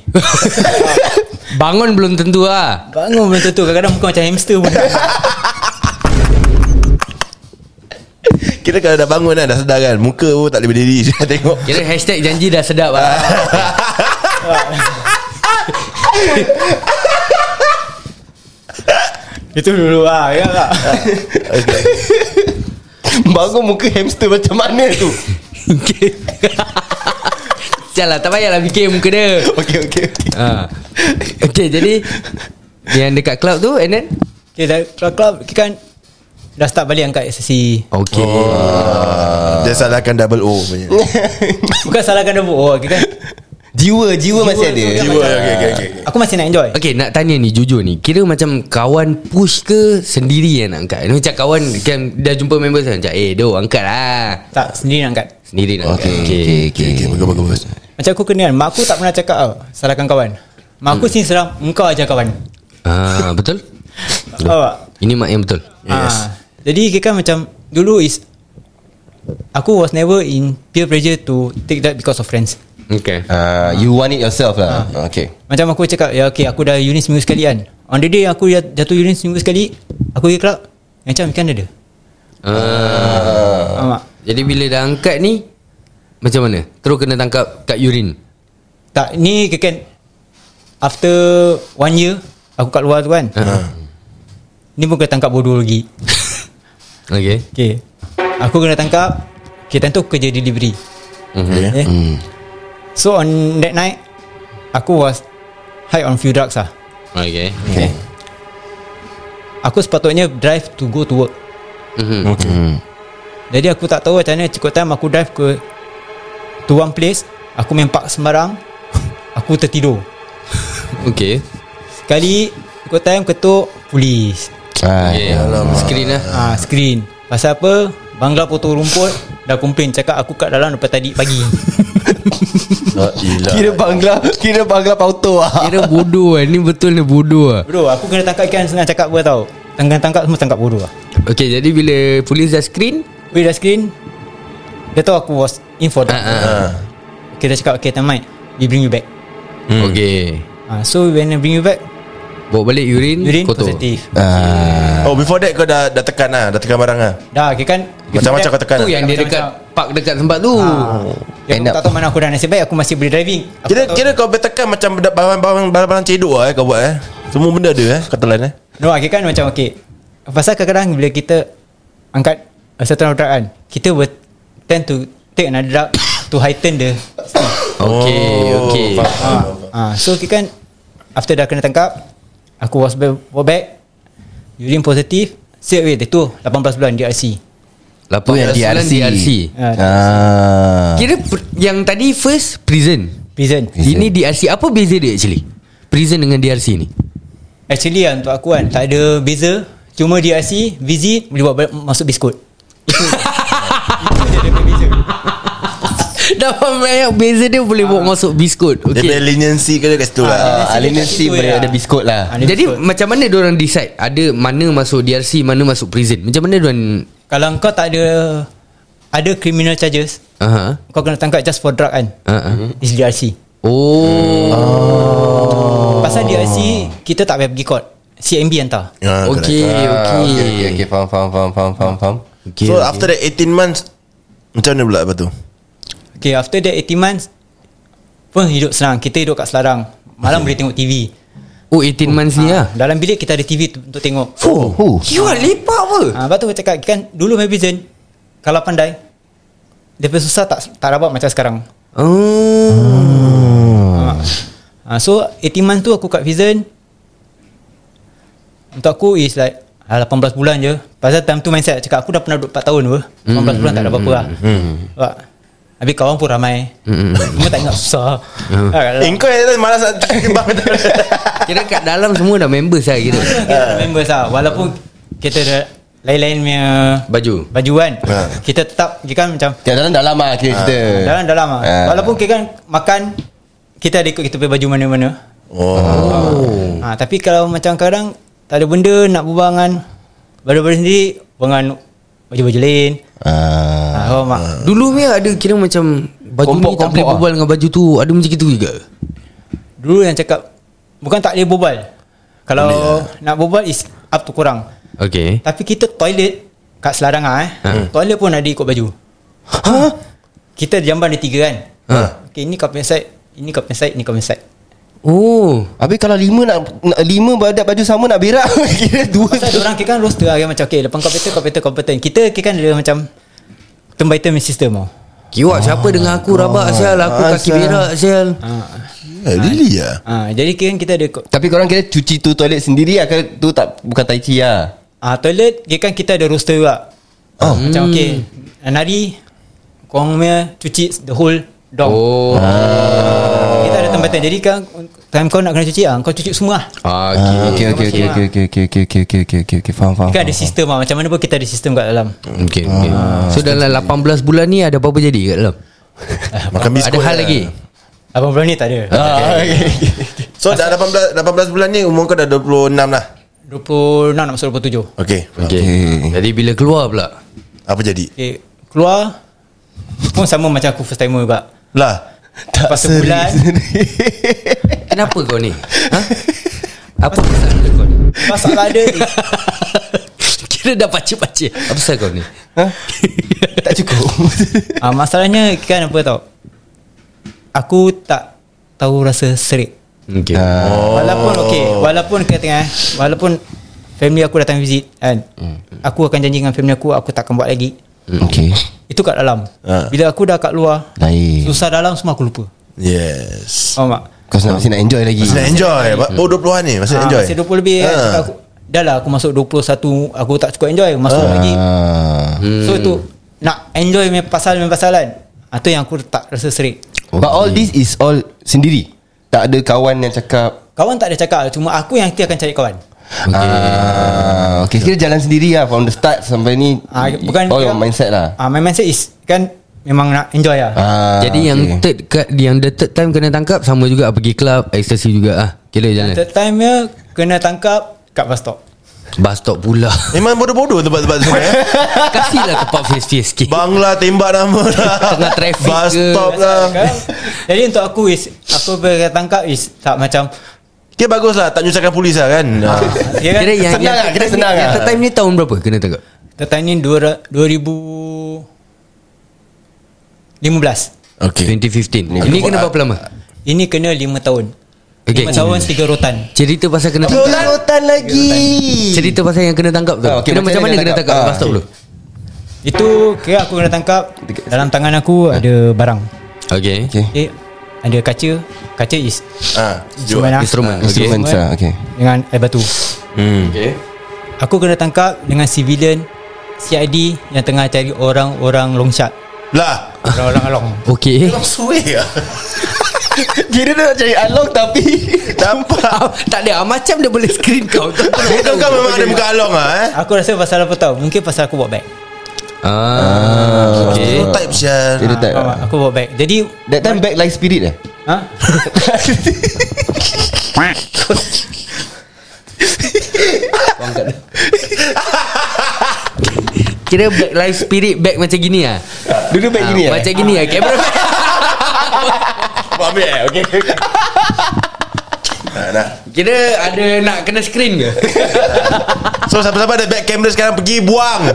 [SPEAKER 3] Bangun belum tentu lah
[SPEAKER 8] Bangun belum tentu Kadang-kadang muka macam hamster pun
[SPEAKER 7] Kira kalau dah bangun kan dah sedar kan muka pun tak boleh berdiri saya tengok.
[SPEAKER 3] Kira hashtag janji dah sedap lah
[SPEAKER 8] Itu dulu
[SPEAKER 4] ah.
[SPEAKER 8] lah Ya tak
[SPEAKER 4] Bangun muka hamster macam mana tu
[SPEAKER 3] Okay Jalan tak payahlah fikir muka dia
[SPEAKER 4] Okay okay
[SPEAKER 3] ha. Okay jadi Yang dekat club tu And then
[SPEAKER 8] Okay dah Club-club Kita kan Dah start balik angkat sesi
[SPEAKER 3] Okay
[SPEAKER 7] Ah. Dia salahkan double O punya.
[SPEAKER 8] Bukan salahkan dia Oh kita kan
[SPEAKER 4] Jiwa Jiwa masih ada
[SPEAKER 7] Jiwa okey okey okey.
[SPEAKER 8] Aku masih nak enjoy
[SPEAKER 3] Okay nak tanya ni Jujur ni Kira macam kawan push ke Sendiri yang nak angkat Macam kawan kan, Dah jumpa member saya Macam eh doh angkat lah
[SPEAKER 8] Tak sendiri nak angkat
[SPEAKER 3] Sendiri nak
[SPEAKER 4] Okay
[SPEAKER 3] angkat
[SPEAKER 4] okay okay
[SPEAKER 7] Okey bagus bagus. bagus.
[SPEAKER 8] Macam aku kena kan Mak aku tak pernah cakap tau Salahkan kawan Mak aku
[SPEAKER 4] Hmm.
[SPEAKER 8] sini serang Engkau aja kawan
[SPEAKER 3] Ah Betul
[SPEAKER 8] Faham tak?
[SPEAKER 3] Ini mak yang betul Ah.
[SPEAKER 8] Yes. Ha. Jadi kita kan macam dulu is aku was never in peer pressure to take that because of friends.
[SPEAKER 3] Okay
[SPEAKER 4] Ah, You want it yourself lah Okay
[SPEAKER 8] Macam aku cakap ya okay aku dah uni seminggu sekali kan. On the day aku jat- jatuh uni seminggu sekali, aku pergi club. Macam kan ada.
[SPEAKER 3] ah.
[SPEAKER 8] Faham tak?
[SPEAKER 3] Jadi bila dah angkat ni Macam mana Terus kena tangkap kat urine
[SPEAKER 8] Tak ni kita kan after one year aku kat luar tu kan.
[SPEAKER 3] Ah.
[SPEAKER 8] Ni pun kena tangkap bodoh lagi.
[SPEAKER 3] Okay
[SPEAKER 8] Okay. Aku kena tangkap. Okay, time tu aku kerja delivery.
[SPEAKER 3] Mhm.
[SPEAKER 7] Okey.
[SPEAKER 8] Eh? Mm. So on that night Aku was High on few drugs lah
[SPEAKER 3] Okay
[SPEAKER 4] Okay
[SPEAKER 8] Aku sepatutnya drive to go to work
[SPEAKER 3] Mhm.
[SPEAKER 8] Jadi aku tak tahu macam mana Cukup time aku drive ke To one place Aku main park sembarang Aku tertidur
[SPEAKER 3] Okay
[SPEAKER 8] Sekali Cukup time ketuk Polis
[SPEAKER 4] Ah,
[SPEAKER 3] Okay Screen lah
[SPEAKER 8] Ah Screen Pasal apa Bangla potong rumput Dah komplain Cakap aku kat dalam Lepas tadi pagi
[SPEAKER 7] La ilaha.
[SPEAKER 4] Kira bangla Kira bangla pauto lah
[SPEAKER 3] Kira bodoh lah Ni betul ni bodoh lah
[SPEAKER 8] Bro aku kena tangkap ikan Senang cakap apa tau Tangkap-tangkap semua tangkap bodoh lah
[SPEAKER 3] Okay jadi bila Polis dah screen
[SPEAKER 8] Wait dah screen Dia tahu aku was in for that
[SPEAKER 3] Ah, ah.
[SPEAKER 8] Okay dia cakap Okay time mind We bring you back
[SPEAKER 3] Okay
[SPEAKER 8] uh, So when I bring you back
[SPEAKER 3] Bawa balik urine
[SPEAKER 8] Urine
[SPEAKER 3] kotor. Ah.
[SPEAKER 8] positif
[SPEAKER 7] Oh before that kau dah dah tekan lah, dah tekan barang lah.
[SPEAKER 8] Dah okay kan
[SPEAKER 7] Macam-macam kau tekan.
[SPEAKER 3] Tu
[SPEAKER 7] lah.
[SPEAKER 3] yang dia dekat Park dekat tempat tu Oh,
[SPEAKER 8] Ya, aku tak tahu mana aku dah nasib baik Aku masih boleh driving aku
[SPEAKER 7] Kira
[SPEAKER 8] tak tahu.
[SPEAKER 7] kira kau bertekan macam benda- barang-barang barang-barang cedok lah eh kau buat eh. Semua benda ada eh kau telan eh.
[SPEAKER 8] No okay kan macam okay Pasal kadang-kadang bila kita Angkat uh, Satu orang drug kan Kita will Tend to Take another drug To heighten the
[SPEAKER 3] Okay
[SPEAKER 7] Oh,
[SPEAKER 3] Okay
[SPEAKER 8] uh, So kita kan After dah kena tangkap Aku was back, was back Urine positif Straight away Itu 18 bulan DRC
[SPEAKER 3] Lapan
[SPEAKER 4] Tu yang
[SPEAKER 3] belas bulan
[SPEAKER 4] DRC.
[SPEAKER 3] DRC.
[SPEAKER 4] Ah.
[SPEAKER 3] Ah. Kira per- yang tadi first prison.
[SPEAKER 8] Prison
[SPEAKER 3] Ini DRC Apa beza dia actually Prison dengan DRC ni
[SPEAKER 8] Actually lah untuk aku kan Tak ada beza Cuma DRC Visit Boleh buat ba- masuk biskut
[SPEAKER 3] Dah banyak beza dia Boleh buat masuk biskut
[SPEAKER 7] Dia punya
[SPEAKER 3] okay.
[SPEAKER 7] leniency ke dia kat situ lah
[SPEAKER 4] Ah, Alienasi
[SPEAKER 8] Itu
[SPEAKER 4] boleh
[SPEAKER 8] ya.
[SPEAKER 4] ada biskut lah.
[SPEAKER 8] Ada
[SPEAKER 3] Jadi
[SPEAKER 8] biskut.
[SPEAKER 3] macam mana orang decide Ada mana masuk DRC Mana masuk prison Macam mana diorang
[SPEAKER 8] Kalau kau tak ada Ada criminal charges
[SPEAKER 3] Aha.
[SPEAKER 8] Kau kena tangkap just for drug kan
[SPEAKER 3] Uh-huh.
[SPEAKER 8] Is DRC
[SPEAKER 3] Oh,
[SPEAKER 8] Pasal DRC Kita tak payah pergi court CMB hantar
[SPEAKER 7] Ah, correct.
[SPEAKER 3] okay,
[SPEAKER 4] Ah,
[SPEAKER 3] okay.
[SPEAKER 4] okay, okay, okay, faham, faham, faham, faham, faham, faham.
[SPEAKER 3] okay.
[SPEAKER 7] So after that 18 months Macam mana pula lepas tu
[SPEAKER 8] Okay after that 18 months Pun hidup senang Kita hidup kat Selarang Malam boleh tengok TV
[SPEAKER 3] Oh 18 months ni lah
[SPEAKER 8] Dalam bilik kita ada TV tu, untuk tengok
[SPEAKER 4] Oh,
[SPEAKER 3] Kiwa lepak apa
[SPEAKER 8] ha, Lepas tu aku cakap kan Dulu Mavizen Kalau pandai Dia pun susah tak, tak rabak macam sekarang
[SPEAKER 3] Oh
[SPEAKER 8] ha, So 18 months tu aku kat Vizen Untuk aku is like ah, 18 bulan je Pasal time tu mindset Cakap aku dah pernah duduk 4 tahun apa 18 bulan tak ada apa-apa lah
[SPEAKER 7] Hmm.
[SPEAKER 8] Nampak? Habis kawan pun ramai Cuma tak ingat susah ha,
[SPEAKER 7] Eh
[SPEAKER 8] kalau-
[SPEAKER 7] kau yang malas nak kebab
[SPEAKER 3] Kira kat dalam semua dah members lah kira
[SPEAKER 8] kita members lah Walaupun Kita ada Lain-lain punya
[SPEAKER 3] Baju
[SPEAKER 8] Baju kan Kita tetap Kita kan macam
[SPEAKER 4] Tiap dalam dalam lah kira cerita.
[SPEAKER 8] Dalam-dalam lah
[SPEAKER 4] Ah.
[SPEAKER 8] Walaupun kita kan Makan Kita ada ikut kita punya baju mana-mana
[SPEAKER 7] Oh
[SPEAKER 4] Hmm.
[SPEAKER 8] ha, Tapi kalau macam kadang Tak ada benda Nak berbual dengan Baru-baru sendiri Berbual dengan Baju-baju lain
[SPEAKER 4] Ah.
[SPEAKER 8] ha, faham tak?
[SPEAKER 3] Dulu punya ada kira macam Baju ni tak
[SPEAKER 4] Kelompok-kelompok
[SPEAKER 3] boleh
[SPEAKER 4] ah.
[SPEAKER 3] berbual dengan baju tu Ada macam itu juga
[SPEAKER 8] Dulu yang cakap Bukan tak boleh berbual Kalau
[SPEAKER 4] eh.
[SPEAKER 8] Nak berbual is Up to korang
[SPEAKER 3] Okay
[SPEAKER 8] Tapi kita toilet Kat Selarang ah, eh.
[SPEAKER 4] Hmm.
[SPEAKER 8] Toilet pun ada ikut baju
[SPEAKER 3] Ha?
[SPEAKER 8] Kita jamban ada tiga kan
[SPEAKER 3] Ha.
[SPEAKER 8] Okay ini kau punya side Ini kau punya side Ini kau punya side
[SPEAKER 3] Oh
[SPEAKER 4] Habis kalau lima nak, nak lima badak baju sama nak berak kira dua.
[SPEAKER 8] Pasal orang kita kan roster lah kan, Macam okay Lepas komputer komputer komputer Kita kita kan ada macam Term by term system tau
[SPEAKER 3] Kiwak siapa dengan aku
[SPEAKER 7] Ah.
[SPEAKER 3] rabak sial Aku kaki berak sial
[SPEAKER 7] yeah, Really lah
[SPEAKER 8] ha, Jadi kan kita ada ko-
[SPEAKER 4] Tapi korang kira cuci tu toilet sendiri lah Kira tu tak bukan tai chi lah
[SPEAKER 8] ha, Toilet Dia kan kita ada roster juga oh. Macam okay Nari Korang punya Cuci the whole Dog
[SPEAKER 3] Oh
[SPEAKER 7] Ah.
[SPEAKER 8] Kita ada tempat Jadi kan Time kau nak kena cuci ah, Kau cuci semua lah
[SPEAKER 3] Ah,
[SPEAKER 4] Ah,
[SPEAKER 3] okay.
[SPEAKER 4] Okay okay okay okay okay okay okay okay okay okay okay okay faham faham.
[SPEAKER 8] Kan ada sistem lah Macam mana pun kita ada sistem kat dalam
[SPEAKER 3] Okay, okay.
[SPEAKER 7] Ah.
[SPEAKER 3] So dalam 18 bulan ni Ada apa-apa jadi kat dalam
[SPEAKER 7] Makan biskut
[SPEAKER 3] Ada hal
[SPEAKER 7] lah.
[SPEAKER 3] lagi
[SPEAKER 8] Abang Brown ni tak ada
[SPEAKER 7] So dah 18 18 bulan ni Umur kau dah 26 lah
[SPEAKER 8] 26 nak masuk 27
[SPEAKER 7] Okay
[SPEAKER 3] okay. Jadi bila keluar pula
[SPEAKER 7] Apa jadi
[SPEAKER 8] Okay Keluar Pun sama macam aku first timer juga
[SPEAKER 7] Lah
[SPEAKER 8] Lepas sebulan
[SPEAKER 3] Kenapa kau ni ha? Apa pasal kau ni
[SPEAKER 8] Masalah ada
[SPEAKER 3] Kira dah pacik-pacik Apa pasal kau ni
[SPEAKER 4] tak cukup.
[SPEAKER 8] ah, Masalahnya kan apa tau Aku tak Tahu rasa serik
[SPEAKER 3] Okay
[SPEAKER 4] Ah,
[SPEAKER 8] oh. Walaupun okay Walaupun kat tengah eh, Walaupun Family aku datang visit kan
[SPEAKER 7] Hmm.
[SPEAKER 8] Aku akan janji dengan family aku Aku takkan buat lagi
[SPEAKER 4] okay.
[SPEAKER 8] Itu kat dalam
[SPEAKER 7] Ah.
[SPEAKER 8] Bila aku dah kat luar
[SPEAKER 4] Lain.
[SPEAKER 8] Susah dalam semua aku lupa
[SPEAKER 7] Yes
[SPEAKER 8] Faham tak?
[SPEAKER 4] Kau nak masih nak enjoy lagi.
[SPEAKER 7] Masih nak enjoy Oh 20-an ni Masih nak
[SPEAKER 8] Ah,
[SPEAKER 7] enjoy
[SPEAKER 8] Masih 20 lebih kan
[SPEAKER 7] Ah.
[SPEAKER 8] Cakap aku, Dah lah aku masuk 21 Aku tak cukup enjoy Masuk
[SPEAKER 7] Ha.
[SPEAKER 8] lagi
[SPEAKER 4] Ah.
[SPEAKER 8] So
[SPEAKER 7] Hmm.
[SPEAKER 8] itu Nak enjoy main pasal Main pasal kan Ah, tu yang aku tak rasa serik
[SPEAKER 4] But all this is all sendiri. Tak ada kawan yang cakap
[SPEAKER 8] Kawan tak ada cakap Cuma aku yang nanti akan cari kawan
[SPEAKER 4] Okay. Ah, okay, kira jalan sendiri lah From the start sampai ni
[SPEAKER 8] ah, Bukan
[SPEAKER 4] All your mindset lah
[SPEAKER 8] ah, My mindset is Kan Memang nak enjoy lah
[SPEAKER 4] ah,
[SPEAKER 3] Oh, Jadi yang third kat, Yang the third time kena tangkap Sama juga pergi club Ekstasi juga ah. Kira jalan
[SPEAKER 8] Third time dia Kena tangkap Kat bus stop
[SPEAKER 3] Bus stop pula
[SPEAKER 7] Memang bodoh-bodoh tempat-tempat tu eh.
[SPEAKER 3] Kasihlah tempat face-face sikit
[SPEAKER 7] Bang lah tembak nama lah
[SPEAKER 3] Tengah traffic
[SPEAKER 7] Bus
[SPEAKER 3] ke? kan?
[SPEAKER 7] stop lah
[SPEAKER 8] Sekarang, Jadi untuk aku is Aku boleh tangkap is Tak macam
[SPEAKER 7] Dia bagus lah Tak nyusahkan polis lah kan Ah.
[SPEAKER 8] Ya kan
[SPEAKER 3] Kira yang,
[SPEAKER 4] Senang
[SPEAKER 3] yang
[SPEAKER 4] lah, kira
[SPEAKER 3] third time ni-
[SPEAKER 4] senang
[SPEAKER 3] Yang
[SPEAKER 4] lah.
[SPEAKER 3] third time ni tahun berapa kena tangkap
[SPEAKER 8] Third time ni dua ra- 2000 15
[SPEAKER 7] Okay
[SPEAKER 3] 2015 Ini
[SPEAKER 4] ah,
[SPEAKER 3] kena berapa lama
[SPEAKER 8] Ini kena 5 tahun 5
[SPEAKER 3] Okay.
[SPEAKER 8] tahun 3 rotan
[SPEAKER 3] Cerita pasal kena tangkap
[SPEAKER 4] Rotan lagi
[SPEAKER 3] Cerita pasal yang kena tangkap tu
[SPEAKER 4] Ah, okay,
[SPEAKER 3] Kira macam mana kena tangkap
[SPEAKER 4] Ah,
[SPEAKER 3] Bus stop dulu
[SPEAKER 8] Itu kira aku kena tangkap Dalam tangan aku
[SPEAKER 4] Ah.
[SPEAKER 8] ada barang
[SPEAKER 3] Okay
[SPEAKER 8] okay. Ada kaca Kaca is
[SPEAKER 7] Ah,
[SPEAKER 8] Instrumen lah
[SPEAKER 3] Instrumen okay.
[SPEAKER 4] lah, Instrument okay. okay.
[SPEAKER 8] Dengan air batu
[SPEAKER 7] Hmm.
[SPEAKER 8] okay. Aku kena tangkap dengan civilian CID yang tengah cari orang-orang long shot
[SPEAKER 7] Lah
[SPEAKER 8] Orang-orang long
[SPEAKER 3] Okay
[SPEAKER 7] Long suai lah
[SPEAKER 4] Kira dia nak cari Along tapi
[SPEAKER 7] Nampak
[SPEAKER 3] Ah, Tak ada ah, Macam dia boleh screen kau Kau tak
[SPEAKER 7] Kita
[SPEAKER 3] tahu.
[SPEAKER 7] kan memang ada muka along lah eh
[SPEAKER 8] Aku rasa pasal apa tau Mungkin pasal aku bawa bag
[SPEAKER 3] Ah, Okay
[SPEAKER 7] Stereotype sial
[SPEAKER 4] Kira tak
[SPEAKER 8] Ah, Faham tak? Aku bawa bag Jadi
[SPEAKER 4] That time back like spirit eh
[SPEAKER 8] ha?
[SPEAKER 3] Kira back life spirit Back macam gini lah
[SPEAKER 4] Dulu back gini
[SPEAKER 3] ah,
[SPEAKER 4] eh
[SPEAKER 3] Macam gini lah Kamera
[SPEAKER 7] Buat ambil eh Okay Nah, nah.
[SPEAKER 3] Kira ada nak kena screen ke?
[SPEAKER 7] So siapa-siapa ada back camera sekarang Pergi buang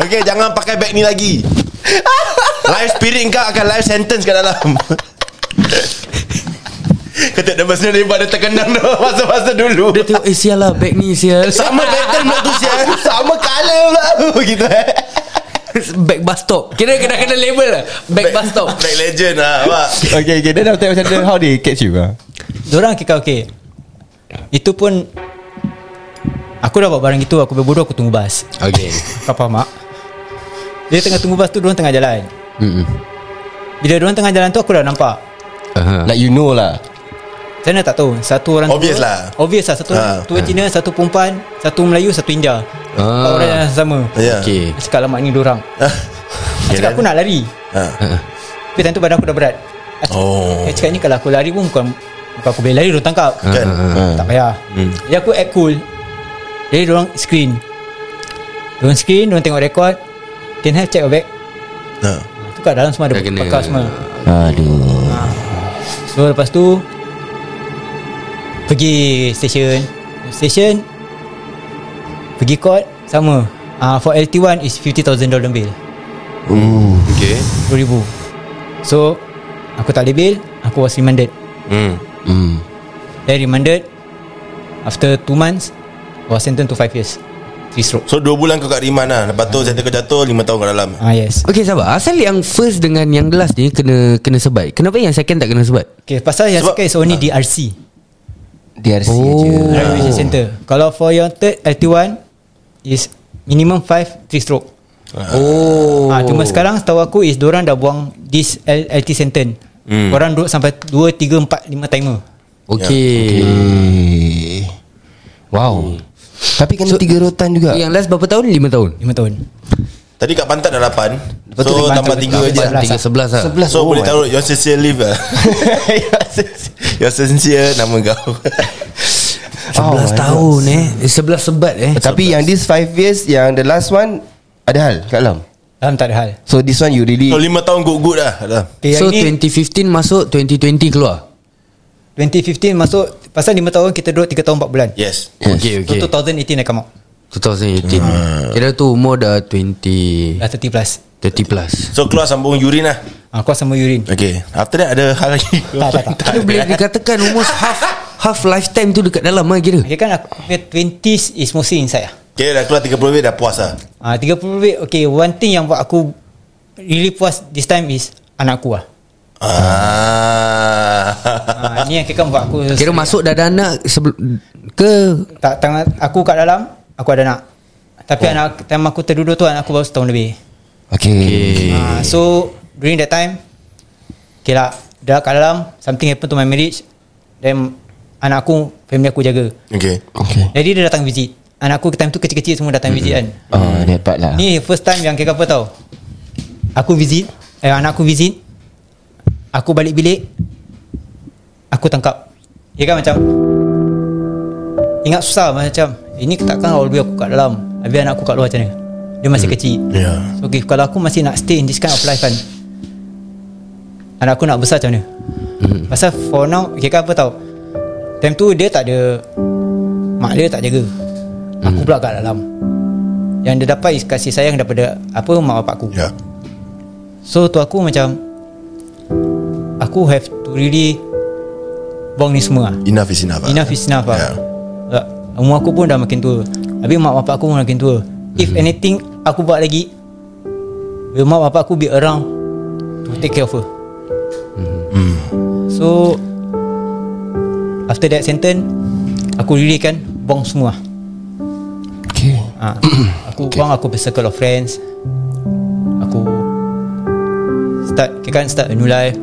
[SPEAKER 7] Okay jangan pakai back ni lagi Live spirit kau akan live sentence kat dalam Ketik dia mesin ni Pada terkenang tu Masa-masa dulu
[SPEAKER 3] Dia tengok Eh sial lah Back ni sial
[SPEAKER 7] Sama pattern pula tu sial
[SPEAKER 4] Sama colour pula Gitu eh
[SPEAKER 3] Back bus stop Kira kena kena label lah Back bus stop
[SPEAKER 7] Back legend lah Pak
[SPEAKER 4] Okay okay Then after that macam mana How they catch you ah?
[SPEAKER 8] Diorang kira okay Itu pun Aku dah bawa barang itu Aku berbodoh aku tunggu bas
[SPEAKER 3] Okay
[SPEAKER 8] Kau faham tak? Dia tengah tunggu bas tu Diorang tengah jalan
[SPEAKER 3] Mm-mm.
[SPEAKER 8] Bila diorang tengah jalan tu Aku dah nampak
[SPEAKER 3] Aha.
[SPEAKER 4] Like you know lah
[SPEAKER 8] Saya nak tak tahu Satu orang
[SPEAKER 7] Obvious
[SPEAKER 8] tua,
[SPEAKER 7] lah.
[SPEAKER 8] Obvious lah Satu
[SPEAKER 7] Ha.
[SPEAKER 8] ha. tua Cina Satu perempuan Satu Melayu Satu India
[SPEAKER 3] Ha.
[SPEAKER 8] Empat Orang yang sama
[SPEAKER 7] Ya
[SPEAKER 3] Okay
[SPEAKER 8] Aku Cakap lama ni diorang Aku
[SPEAKER 7] Kira-
[SPEAKER 8] Cakap aku nak lari
[SPEAKER 7] Ha.
[SPEAKER 8] Tapi time tu badan aku dah berat Aku
[SPEAKER 7] Oh.
[SPEAKER 8] oh. cakap ni kalau aku lari pun bukan Bukan aku boleh lari Diorang tangkap
[SPEAKER 7] Kan
[SPEAKER 8] Tak payah hmm. Jadi aku act cool Jadi diorang screen Diorang screen Diorang tengok rekod Can have check your bag
[SPEAKER 7] Ha.
[SPEAKER 8] Tu kat dalam semua ada
[SPEAKER 3] Dah kena.
[SPEAKER 8] pakar semua
[SPEAKER 4] Aduh
[SPEAKER 8] So lepas tu Pergi station Station Pergi court Sama Ah For LT1 is $50,000 bill
[SPEAKER 7] Okay
[SPEAKER 8] RM10,000 So Aku tak ada bill Aku was remanded
[SPEAKER 7] Hmm
[SPEAKER 3] mm.
[SPEAKER 8] Then remanded After 2 months Was sentenced to 5 years 3 stroke
[SPEAKER 7] So 2 bulan kau kat Riman lah Lepas tu saya kau jatuh 5 tahun kat dalam
[SPEAKER 8] Ah yes
[SPEAKER 3] Okay sabar Asal yang first dengan yang last ni Kena kena sebat Kenapa yang second tak kena sebat?
[SPEAKER 8] Okay pasal yang
[SPEAKER 7] Sebab- Ah.
[SPEAKER 8] second is only DRC
[SPEAKER 4] DRC
[SPEAKER 3] Oh.
[SPEAKER 4] je
[SPEAKER 8] Driving License Center Kalau for your third LT1 Is minimum 5 3 stroke
[SPEAKER 3] Oh
[SPEAKER 8] Ah, cuma sekarang setahu aku is diorang dah buang this L- LT sentence. Hmm. Korang duduk sampai 2 3 4 5 timer.
[SPEAKER 3] Okay,
[SPEAKER 4] Eh. Wow Tapi kena tiga rotan juga
[SPEAKER 8] Ya.
[SPEAKER 3] Yang last berapa tahun? 5 tahun
[SPEAKER 8] 5 tahun.
[SPEAKER 7] Tadi kat Pantat dah 8 So tambah 3 je
[SPEAKER 8] Sebelas
[SPEAKER 3] 3 11
[SPEAKER 8] lah.
[SPEAKER 3] lah
[SPEAKER 4] Sebelas
[SPEAKER 7] So
[SPEAKER 4] oh
[SPEAKER 7] boleh
[SPEAKER 4] my
[SPEAKER 7] taruh Your sincere leave lah Your
[SPEAKER 4] Ya,
[SPEAKER 7] sincere Nama kau
[SPEAKER 3] 11 tahun eh Eh, 11 sebat eh
[SPEAKER 4] Tapi yang this five years Yang the last one Ada hal kat dalam
[SPEAKER 8] Dalam tak ada hal.
[SPEAKER 4] So this one you really
[SPEAKER 7] So 5 tahun good-good lah kat dalam.
[SPEAKER 8] Okay,
[SPEAKER 3] So
[SPEAKER 8] so ini
[SPEAKER 3] 2015 masuk 2020 keluar
[SPEAKER 8] 2015 masuk pasal 5 tahun kita duduk 3 tahun 4 bulan.
[SPEAKER 7] Yes
[SPEAKER 3] Okay okay
[SPEAKER 8] So 2018 dah come out.
[SPEAKER 3] 2018 Kira tu umur dah 20 30
[SPEAKER 8] Dah 30 plus.
[SPEAKER 3] plus
[SPEAKER 7] So keluar sambung urine lah
[SPEAKER 8] Ah, kau sama urine.
[SPEAKER 7] Okay After that ada hal lagi
[SPEAKER 8] Tak, tak, tak.
[SPEAKER 3] Kira boleh dikatakan Almost half Half lifetime tu dekat dalam lah kira
[SPEAKER 8] Okay kan aku punya 20s is mostly inside lah.
[SPEAKER 7] Okay dah keluar 30 week dah puas lah
[SPEAKER 8] Ah, 30 week okay one thing yang buat aku really puas this time is anak aku lah.
[SPEAKER 7] Ah.
[SPEAKER 8] Ah, ni yang kira buat aku
[SPEAKER 3] Kira masuk dah ada anak sebelum Ke
[SPEAKER 8] tak tangan aku kat dalam aku ada anak tapi oh. anak time aku terduduk tu anak aku baru setahun lebih
[SPEAKER 4] Okay,
[SPEAKER 3] Eh.
[SPEAKER 8] okay. uh, so during that time okay lah dah kat dalam something happen to my marriage then anak aku family aku jaga
[SPEAKER 7] Okay
[SPEAKER 4] okay.
[SPEAKER 8] jadi dia datang visit anak aku time tu kecil-kecil semua datang visit kan
[SPEAKER 3] Ah.
[SPEAKER 4] Oh that part lah
[SPEAKER 8] ni first time yang kira apa tau aku visit eh, anak aku visit aku balik bilik aku tangkap ya kan macam ingat susah macam ini takkan all the way aku kat dalam habis anak aku kat luar macam mana dia masih kecil
[SPEAKER 7] Ya.
[SPEAKER 8] so okay, kalau aku masih nak stay in this kind of life kan anak aku nak besar macam mana pasal for now kira kan apa tau time tu dia tak ada mak dia tak jaga aku pula kat dalam yang dia dapat is kasih sayang daripada apa mak bapak aku
[SPEAKER 7] Ya
[SPEAKER 8] So tu aku macam Aku have to really Buang ni semua lah.
[SPEAKER 7] Enough is enough lah.
[SPEAKER 8] Enough is enough lah
[SPEAKER 7] Ya.
[SPEAKER 8] yeah. Umur aku pun dah makin tua Habis mak bapak aku pun makin tua If anything Aku buat lagi Will mak bapak aku be around To take care of her Mm-hmm. So After that sentence Aku really kan Buang semua
[SPEAKER 4] Okay
[SPEAKER 8] Ah, Ah. aku okay. bang aku bercircle of friends. Aku start kan start a new life.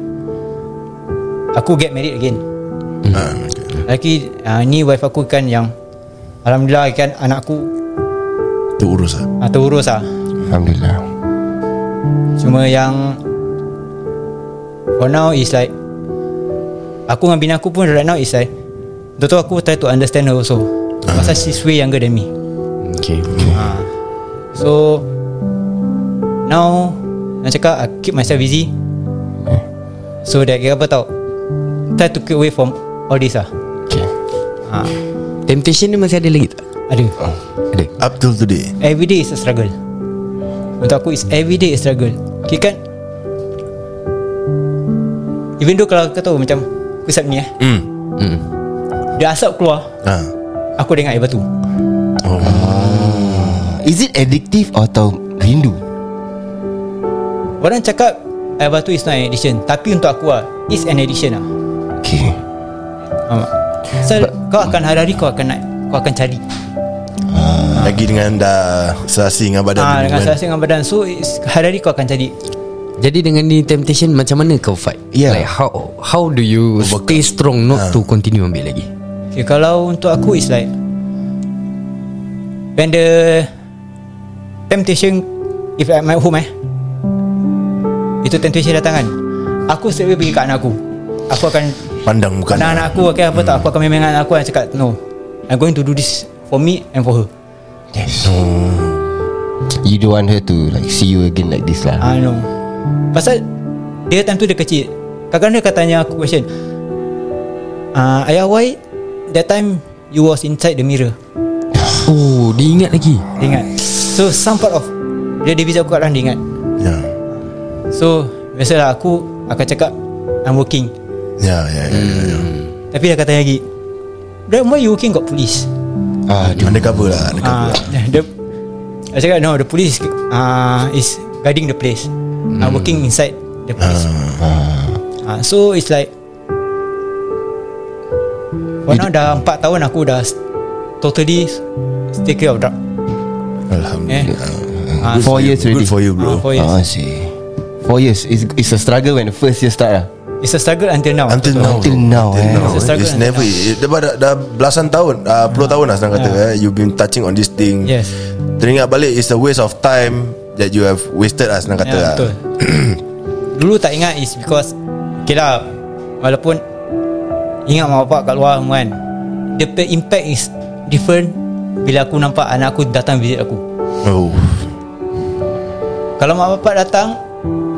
[SPEAKER 8] Aku get married again.
[SPEAKER 7] Ah, okay.
[SPEAKER 8] Lagi uh, ni wife aku kan yang alhamdulillah kan anak aku
[SPEAKER 7] Tu urus lah
[SPEAKER 8] uh, terurus ah.
[SPEAKER 4] Alhamdulillah
[SPEAKER 8] Cuma yang For now is like Aku dengan bini aku pun right now is like Betul aku try to understand her also Pasal she's way younger than me
[SPEAKER 3] Okay
[SPEAKER 8] So Now Nak cakap I keep myself busy Hmm. So that kira apa tau Try to keep away from All this lah
[SPEAKER 4] Okay
[SPEAKER 8] ha.
[SPEAKER 3] Ah. Temptation dia masih ada lagi tak?
[SPEAKER 8] Ada
[SPEAKER 4] Oh,
[SPEAKER 3] Ada
[SPEAKER 7] Up till today
[SPEAKER 8] Every day is a struggle Untuk aku is every day is struggle Okay kan Even though kalau kau tahu macam Aku isap ni eh
[SPEAKER 7] Hmm
[SPEAKER 8] Dia asap keluar
[SPEAKER 7] Ah.
[SPEAKER 8] Aku dengar air batu
[SPEAKER 4] Is it addictive atau rindu?
[SPEAKER 8] Orang cakap Air batu is not an addiction Tapi untuk aku lah It's an addiction lah
[SPEAKER 4] Okay
[SPEAKER 8] Faham tak? So But, kau akan hari-hari kau akan nak Kau akan cari
[SPEAKER 7] Lagi dengan dah Selasi dengan badan
[SPEAKER 8] ha,
[SPEAKER 7] dulu
[SPEAKER 8] Dengan
[SPEAKER 7] kan.
[SPEAKER 8] selesa dengan badan So it's, hari-hari kau akan cari
[SPEAKER 3] Jadi dengan ni temptation Macam mana kau fight?
[SPEAKER 9] Ya.
[SPEAKER 4] Yeah.
[SPEAKER 3] Like how How do you Stay strong
[SPEAKER 9] Ha.
[SPEAKER 3] Not to continue ambil lagi
[SPEAKER 8] okay, Kalau untuk aku It's like When the Temptation If I'm at home eh Itu temptation datang kan Aku straight away pergi kat anak aku Aku akan
[SPEAKER 7] Pandang muka
[SPEAKER 8] Bukan anak aku okay, apa tak Aku akan memang anak aku Aku cakap no I'm going to do this For me and for her
[SPEAKER 4] You don't want her to like see you again like this lah
[SPEAKER 8] I know Ah, Pasal Dia time tu dia kecil Kadang-kadang dia akan tanya aku question uh, Ayah why That time You was inside the mirror
[SPEAKER 3] Oh dia ingat lagi
[SPEAKER 8] Dia ingat So some part of Dia dia visit aku kat dalam Dia ingat
[SPEAKER 7] Ya
[SPEAKER 8] So Biasalah aku Akan cakap I'm working
[SPEAKER 7] Ya ya ya,
[SPEAKER 8] Hmm.
[SPEAKER 7] ya, ya.
[SPEAKER 8] Tapi dia akan tanya lagi Dad why you working got police
[SPEAKER 4] Ah,
[SPEAKER 7] Undercover lah Undercover
[SPEAKER 8] Ah, the I cakap no the police uh, is guarding the place. Mm. Uh, working inside the place. Uh, so it's like For now dah 4 tahun aku dah s- totally stay clear of drug. Eh.
[SPEAKER 7] Alhamdulillah Ah,
[SPEAKER 8] Uh,
[SPEAKER 4] Four years
[SPEAKER 7] Good
[SPEAKER 4] already
[SPEAKER 7] for you
[SPEAKER 8] uh,
[SPEAKER 7] bro
[SPEAKER 8] four years.
[SPEAKER 4] Ah, I see Four years It's, it's a struggle when the first year start lah
[SPEAKER 8] It's a struggle until now.
[SPEAKER 7] Until now
[SPEAKER 4] Until
[SPEAKER 7] bro.
[SPEAKER 4] now, eh.
[SPEAKER 7] now,
[SPEAKER 8] It's a struggle Ah.
[SPEAKER 7] It's never it, dah, dah, dah belasan tahun uh, Puluh tahun lah senang kata eh. You've been touching on this thing
[SPEAKER 8] Yes.
[SPEAKER 7] Teringat balik It's a waste of time That you have wasted lah senang kata
[SPEAKER 8] Ya,
[SPEAKER 7] lah.
[SPEAKER 8] betul. Dulu tak ingat is because Okay lah Walaupun Ingat mak bapak kat luar semua kan The pe- impact is different Bila aku nampak anak aku datang visit aku
[SPEAKER 7] Oh
[SPEAKER 8] Kalau mak bapak datang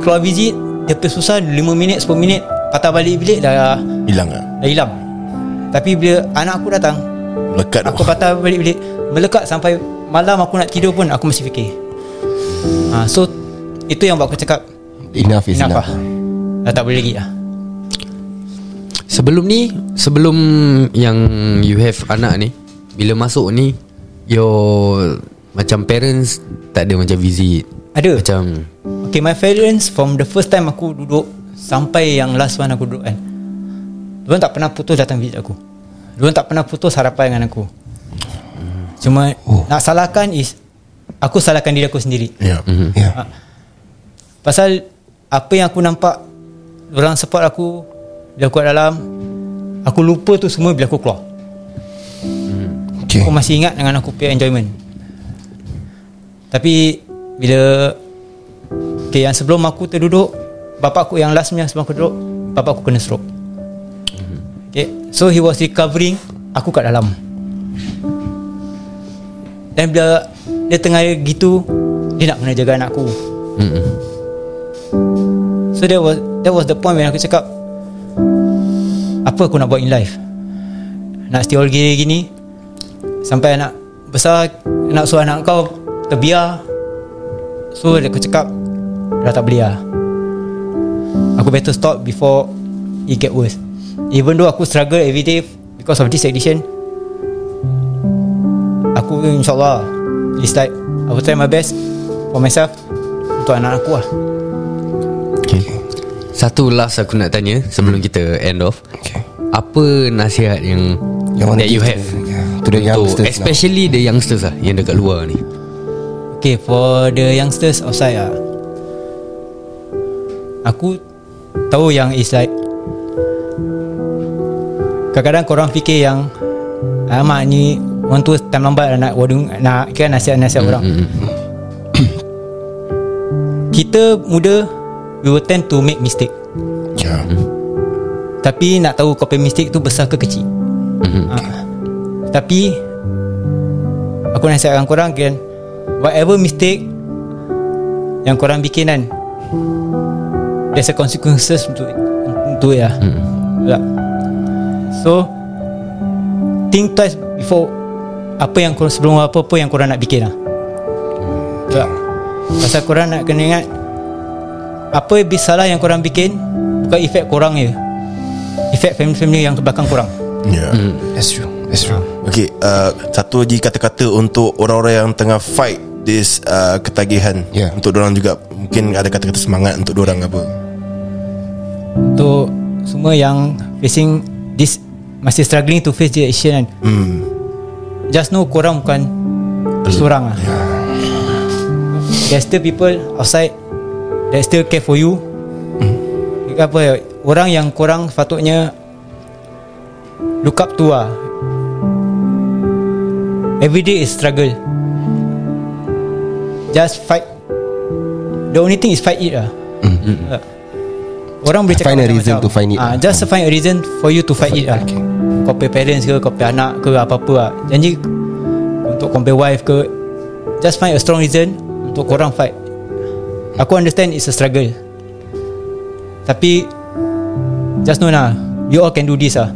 [SPEAKER 8] Keluar visit Dia punya susah 5 minit 10 minit Patah balik bilik dah,
[SPEAKER 7] Hilang lah
[SPEAKER 8] dah hilang Tapi bila anak aku datang
[SPEAKER 7] Lekat
[SPEAKER 8] Aku patah balik bilik Melekat sampai malam aku nak tidur pun Aku masih fikir ha, So Itu yang buat aku cakap
[SPEAKER 4] Enough is
[SPEAKER 8] Enough
[SPEAKER 4] enough,
[SPEAKER 8] lah Dah tak boleh lagi lah
[SPEAKER 3] Sebelum ni Sebelum Yang You have anak ni Bila masuk ni Your Macam parents Tak ada macam visit
[SPEAKER 8] Ada
[SPEAKER 3] Macam
[SPEAKER 8] Okay my parents From the first time aku duduk Sampai yang last one aku duduk kan Diorang tak pernah putus datang visit aku Diorang tak pernah putus harapan dengan aku Cuma oh. Nak salahkan is Aku salahkan diri aku sendiri
[SPEAKER 7] Ya
[SPEAKER 4] Yeah.
[SPEAKER 8] Pasal Apa yang aku nampak Diorang support aku Bila aku kat dalam Aku lupa tu semua bila aku keluar
[SPEAKER 4] Okay
[SPEAKER 8] Aku masih ingat dengan aku punya enjoyment Tapi Bila Okay yang sebelum aku terduduk Bapak aku yang last punya sebelum aku duduk Bapak aku kena stroke Okay So he was recovering Aku kat dalam Dan bila Dia tengah gitu Dia nak kena jaga anak aku So that was That was the point when aku cakap Apa aku nak buat in life Nak stay all gini gini Sampai anak besar Nak suruh anak kau Terbiar So dia aku cakap Dah tak boleh lah Aku better stop before It get worse Even though aku struggle every day Because of this addiction Aku insyaAllah It's like I will try my best For myself Untuk anak aku lah
[SPEAKER 3] Satu last aku nak
[SPEAKER 9] Hmm.
[SPEAKER 3] tanya Sebelum kita end off
[SPEAKER 4] Okay
[SPEAKER 3] Apa nasihat yang
[SPEAKER 4] Yang mana
[SPEAKER 3] That you
[SPEAKER 4] kita-
[SPEAKER 3] have
[SPEAKER 4] yeah.
[SPEAKER 9] To ya. the youngsters now.
[SPEAKER 3] Especially the youngsters lah Yang dekat luar ni
[SPEAKER 8] Okay for the youngsters outside ah. Aku tahu yang is like Kadang-kadang korang fikir yang Alamak ni Orang tua time lambat lah nak wadung Nak kan nasihat-nasihat orang Kita muda We will tend to make mistake
[SPEAKER 9] Yeah.
[SPEAKER 8] Tapi nak tahu kau punya mistake tu besar ke kecil ha. Tapi Aku nasihatkan korang kan Whatever mistake Yang korang bikin kan There's a consequences to it To it lah hmm. So Think twice before Apa yang korang sebelum apa-apa yang korang nak bikin lah Tak Pasal korang nak kena ingat Apa bis salah yang korang bikin Bukan efek korang je Efek family-family yang belakang korang
[SPEAKER 7] Yeah.
[SPEAKER 4] Hmm.
[SPEAKER 9] That's true. That's true.
[SPEAKER 7] Okay, uh, satu lagi kata-kata untuk orang-orang yang tengah fight this uh, ketagihan
[SPEAKER 9] Yeah.
[SPEAKER 7] untuk orang juga mungkin ada kata-kata semangat untuk orang apa.
[SPEAKER 8] Untuk semua yang facing this masih struggling to face the action kan. Hmm. Just know korang bukan seorang lah. Yeah. There's still people outside that still care for you. Hmm. Apa ya, orang yang korang patutnya look up to lah. Every day is struggle. Just fight. The only thing is fight it lah. Hmm. Orang boleh cakap
[SPEAKER 9] Mm. Find a
[SPEAKER 8] macam-macam.
[SPEAKER 9] reason to find it
[SPEAKER 8] Ah,
[SPEAKER 9] lah.
[SPEAKER 8] just find a reason for you to fight it lah. Kau pay parents ke, kau pay anak ke, apa-apa lah. Janji untuk kau pay wife ke, just find a strong reason untuk korang fight. Aku understand it's a struggle. Tapi just know lah, you all can do this lah.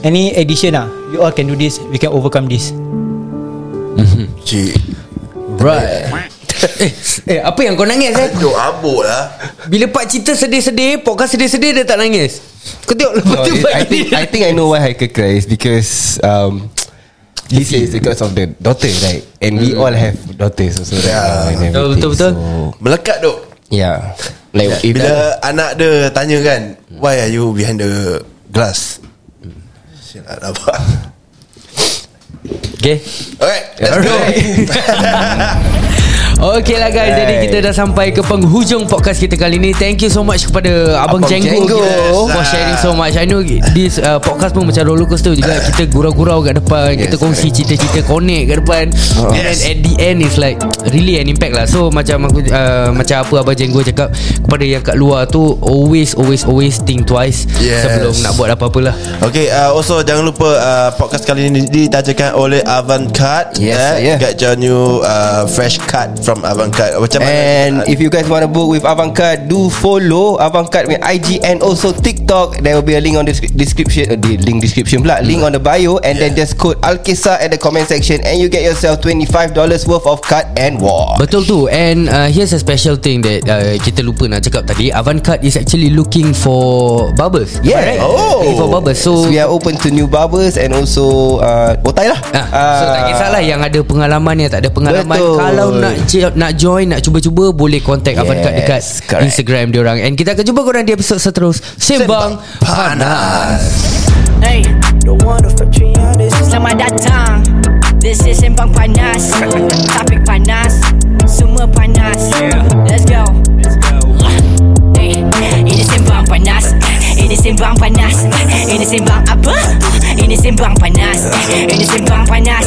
[SPEAKER 8] Any addition lah, you all can do this. We can overcome this.
[SPEAKER 7] Cik,
[SPEAKER 3] Right Eh, eh apa yang kau nangis eh
[SPEAKER 7] Kan, duk abuk lah.
[SPEAKER 3] Bila pak cerita sedih-sedih Podcast sedih-sedih dia tak nangis Kau tengok lepas
[SPEAKER 4] No,
[SPEAKER 3] tu
[SPEAKER 4] it, Oh, I think I think I know why Haikal cry is because um, this is because of the daughter, right? And we all have daughters also, right?
[SPEAKER 7] Yeah.
[SPEAKER 4] And everything.
[SPEAKER 3] Mm-hmm. Betul, betul, betul.
[SPEAKER 4] So,
[SPEAKER 7] Melekat duk.
[SPEAKER 4] yeah. Like if
[SPEAKER 7] Bila anak dia tanya kan, why are you behind the glass? Shit, tak dapat.
[SPEAKER 3] Okay
[SPEAKER 7] Alright, let's go.
[SPEAKER 3] Okay lah guys Jadi kita dah sampai ke penghujung podcast kita kali ni Thank you so much kepada Abang, Abang Jenggo,
[SPEAKER 4] Jenggo.
[SPEAKER 3] kita For
[SPEAKER 7] Yes,
[SPEAKER 3] sharing
[SPEAKER 7] ah.
[SPEAKER 3] so much I know this uh, podcast pun macam roller coaster juga Kita gurau-gurau kat depan Kita kongsi cerita-cerita connect kat depan
[SPEAKER 4] Oh.
[SPEAKER 3] And then
[SPEAKER 7] Yes.
[SPEAKER 3] at the end is like Really an impact lah So macam aku uh, Macam apa Abang Jenggo cakap Kepada yang kat luar tu Always always always think twice
[SPEAKER 7] Yes.
[SPEAKER 3] Sebelum nak buat lah. apa-apalah
[SPEAKER 7] Okay, uh, also jangan lupa uh, podcast kali ini ditajakan oleh Avantcard. eh.
[SPEAKER 4] Yes, yeah.
[SPEAKER 7] Get your new uh, fresh card from Avantcard. Macam Uh,
[SPEAKER 4] And if you guys want to book with Avangcard, do follow Avangcard with IG and also TikTok. There will be a link on the sc- description, uh, the link description pula, link
[SPEAKER 3] Mm.
[SPEAKER 4] on the bio, and then just code Alkisa at the comment section, and you get yourself twenty five dollars worth of card and watch.
[SPEAKER 3] Betul tu And uh, here's a special thing That uh, kita lupa nak cakap tadi Avantcard is actually looking for Barbers Am I
[SPEAKER 4] Yeah.
[SPEAKER 3] right?
[SPEAKER 7] Oh.
[SPEAKER 3] Looking for barbers So,
[SPEAKER 4] So we are open to new barbers and also uh, botai lah.
[SPEAKER 3] Ah, so tak kisahlah yang ada pengalaman yang tak ada pengalaman
[SPEAKER 4] Betul.
[SPEAKER 3] kalau nak j- nak join nak cuba-cuba boleh contact yes,
[SPEAKER 4] Yes,
[SPEAKER 3] Avantcard dekat
[SPEAKER 4] correct.
[SPEAKER 3] Instagram dia orang and kita akan jumpa korang di episod seterus Sembang, Panas.
[SPEAKER 5] Hey, Selamat datang This is Sembang Panas Topik panas Semua panas Let's go Hey, Ini Sembang Panas Ini Sembang Panas Ini Sembang apa? Ini Sembang Panas Ini Sembang Panas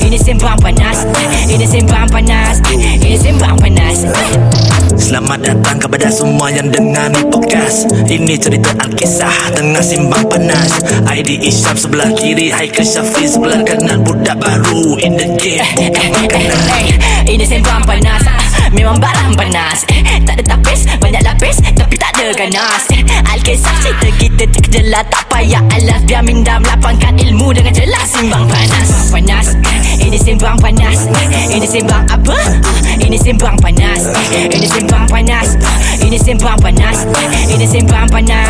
[SPEAKER 5] Ini Sembang Panas Ini Sembang Panas Ini Sembang Panas
[SPEAKER 6] Selamat datang kepada semua yang dengar ni podcast Ini cerita Alkisah tengah simbang panas ID Isyam sebelah kiri Haikal Syafiq sebelah kanan Budak baru in the game
[SPEAKER 5] Eh, eh, eh, eh, Ini sembang panas Ah, Memang barang panas Eh, Tak ada tapis Banyak lapis Tapi tak ada ganas Eh, Alkisah cerita kita terkejelah Tak payah alas Biar mindam lapangkan ilmu Dengan jelas Simbang panas Sembang panas Eh, Ini sembang panas Eh, Ini sembang apa? Ah, Ini sembang panas Eh, Ini sembang panas Ah, Ini sembang panas Eh, Ini sembang panas Ah.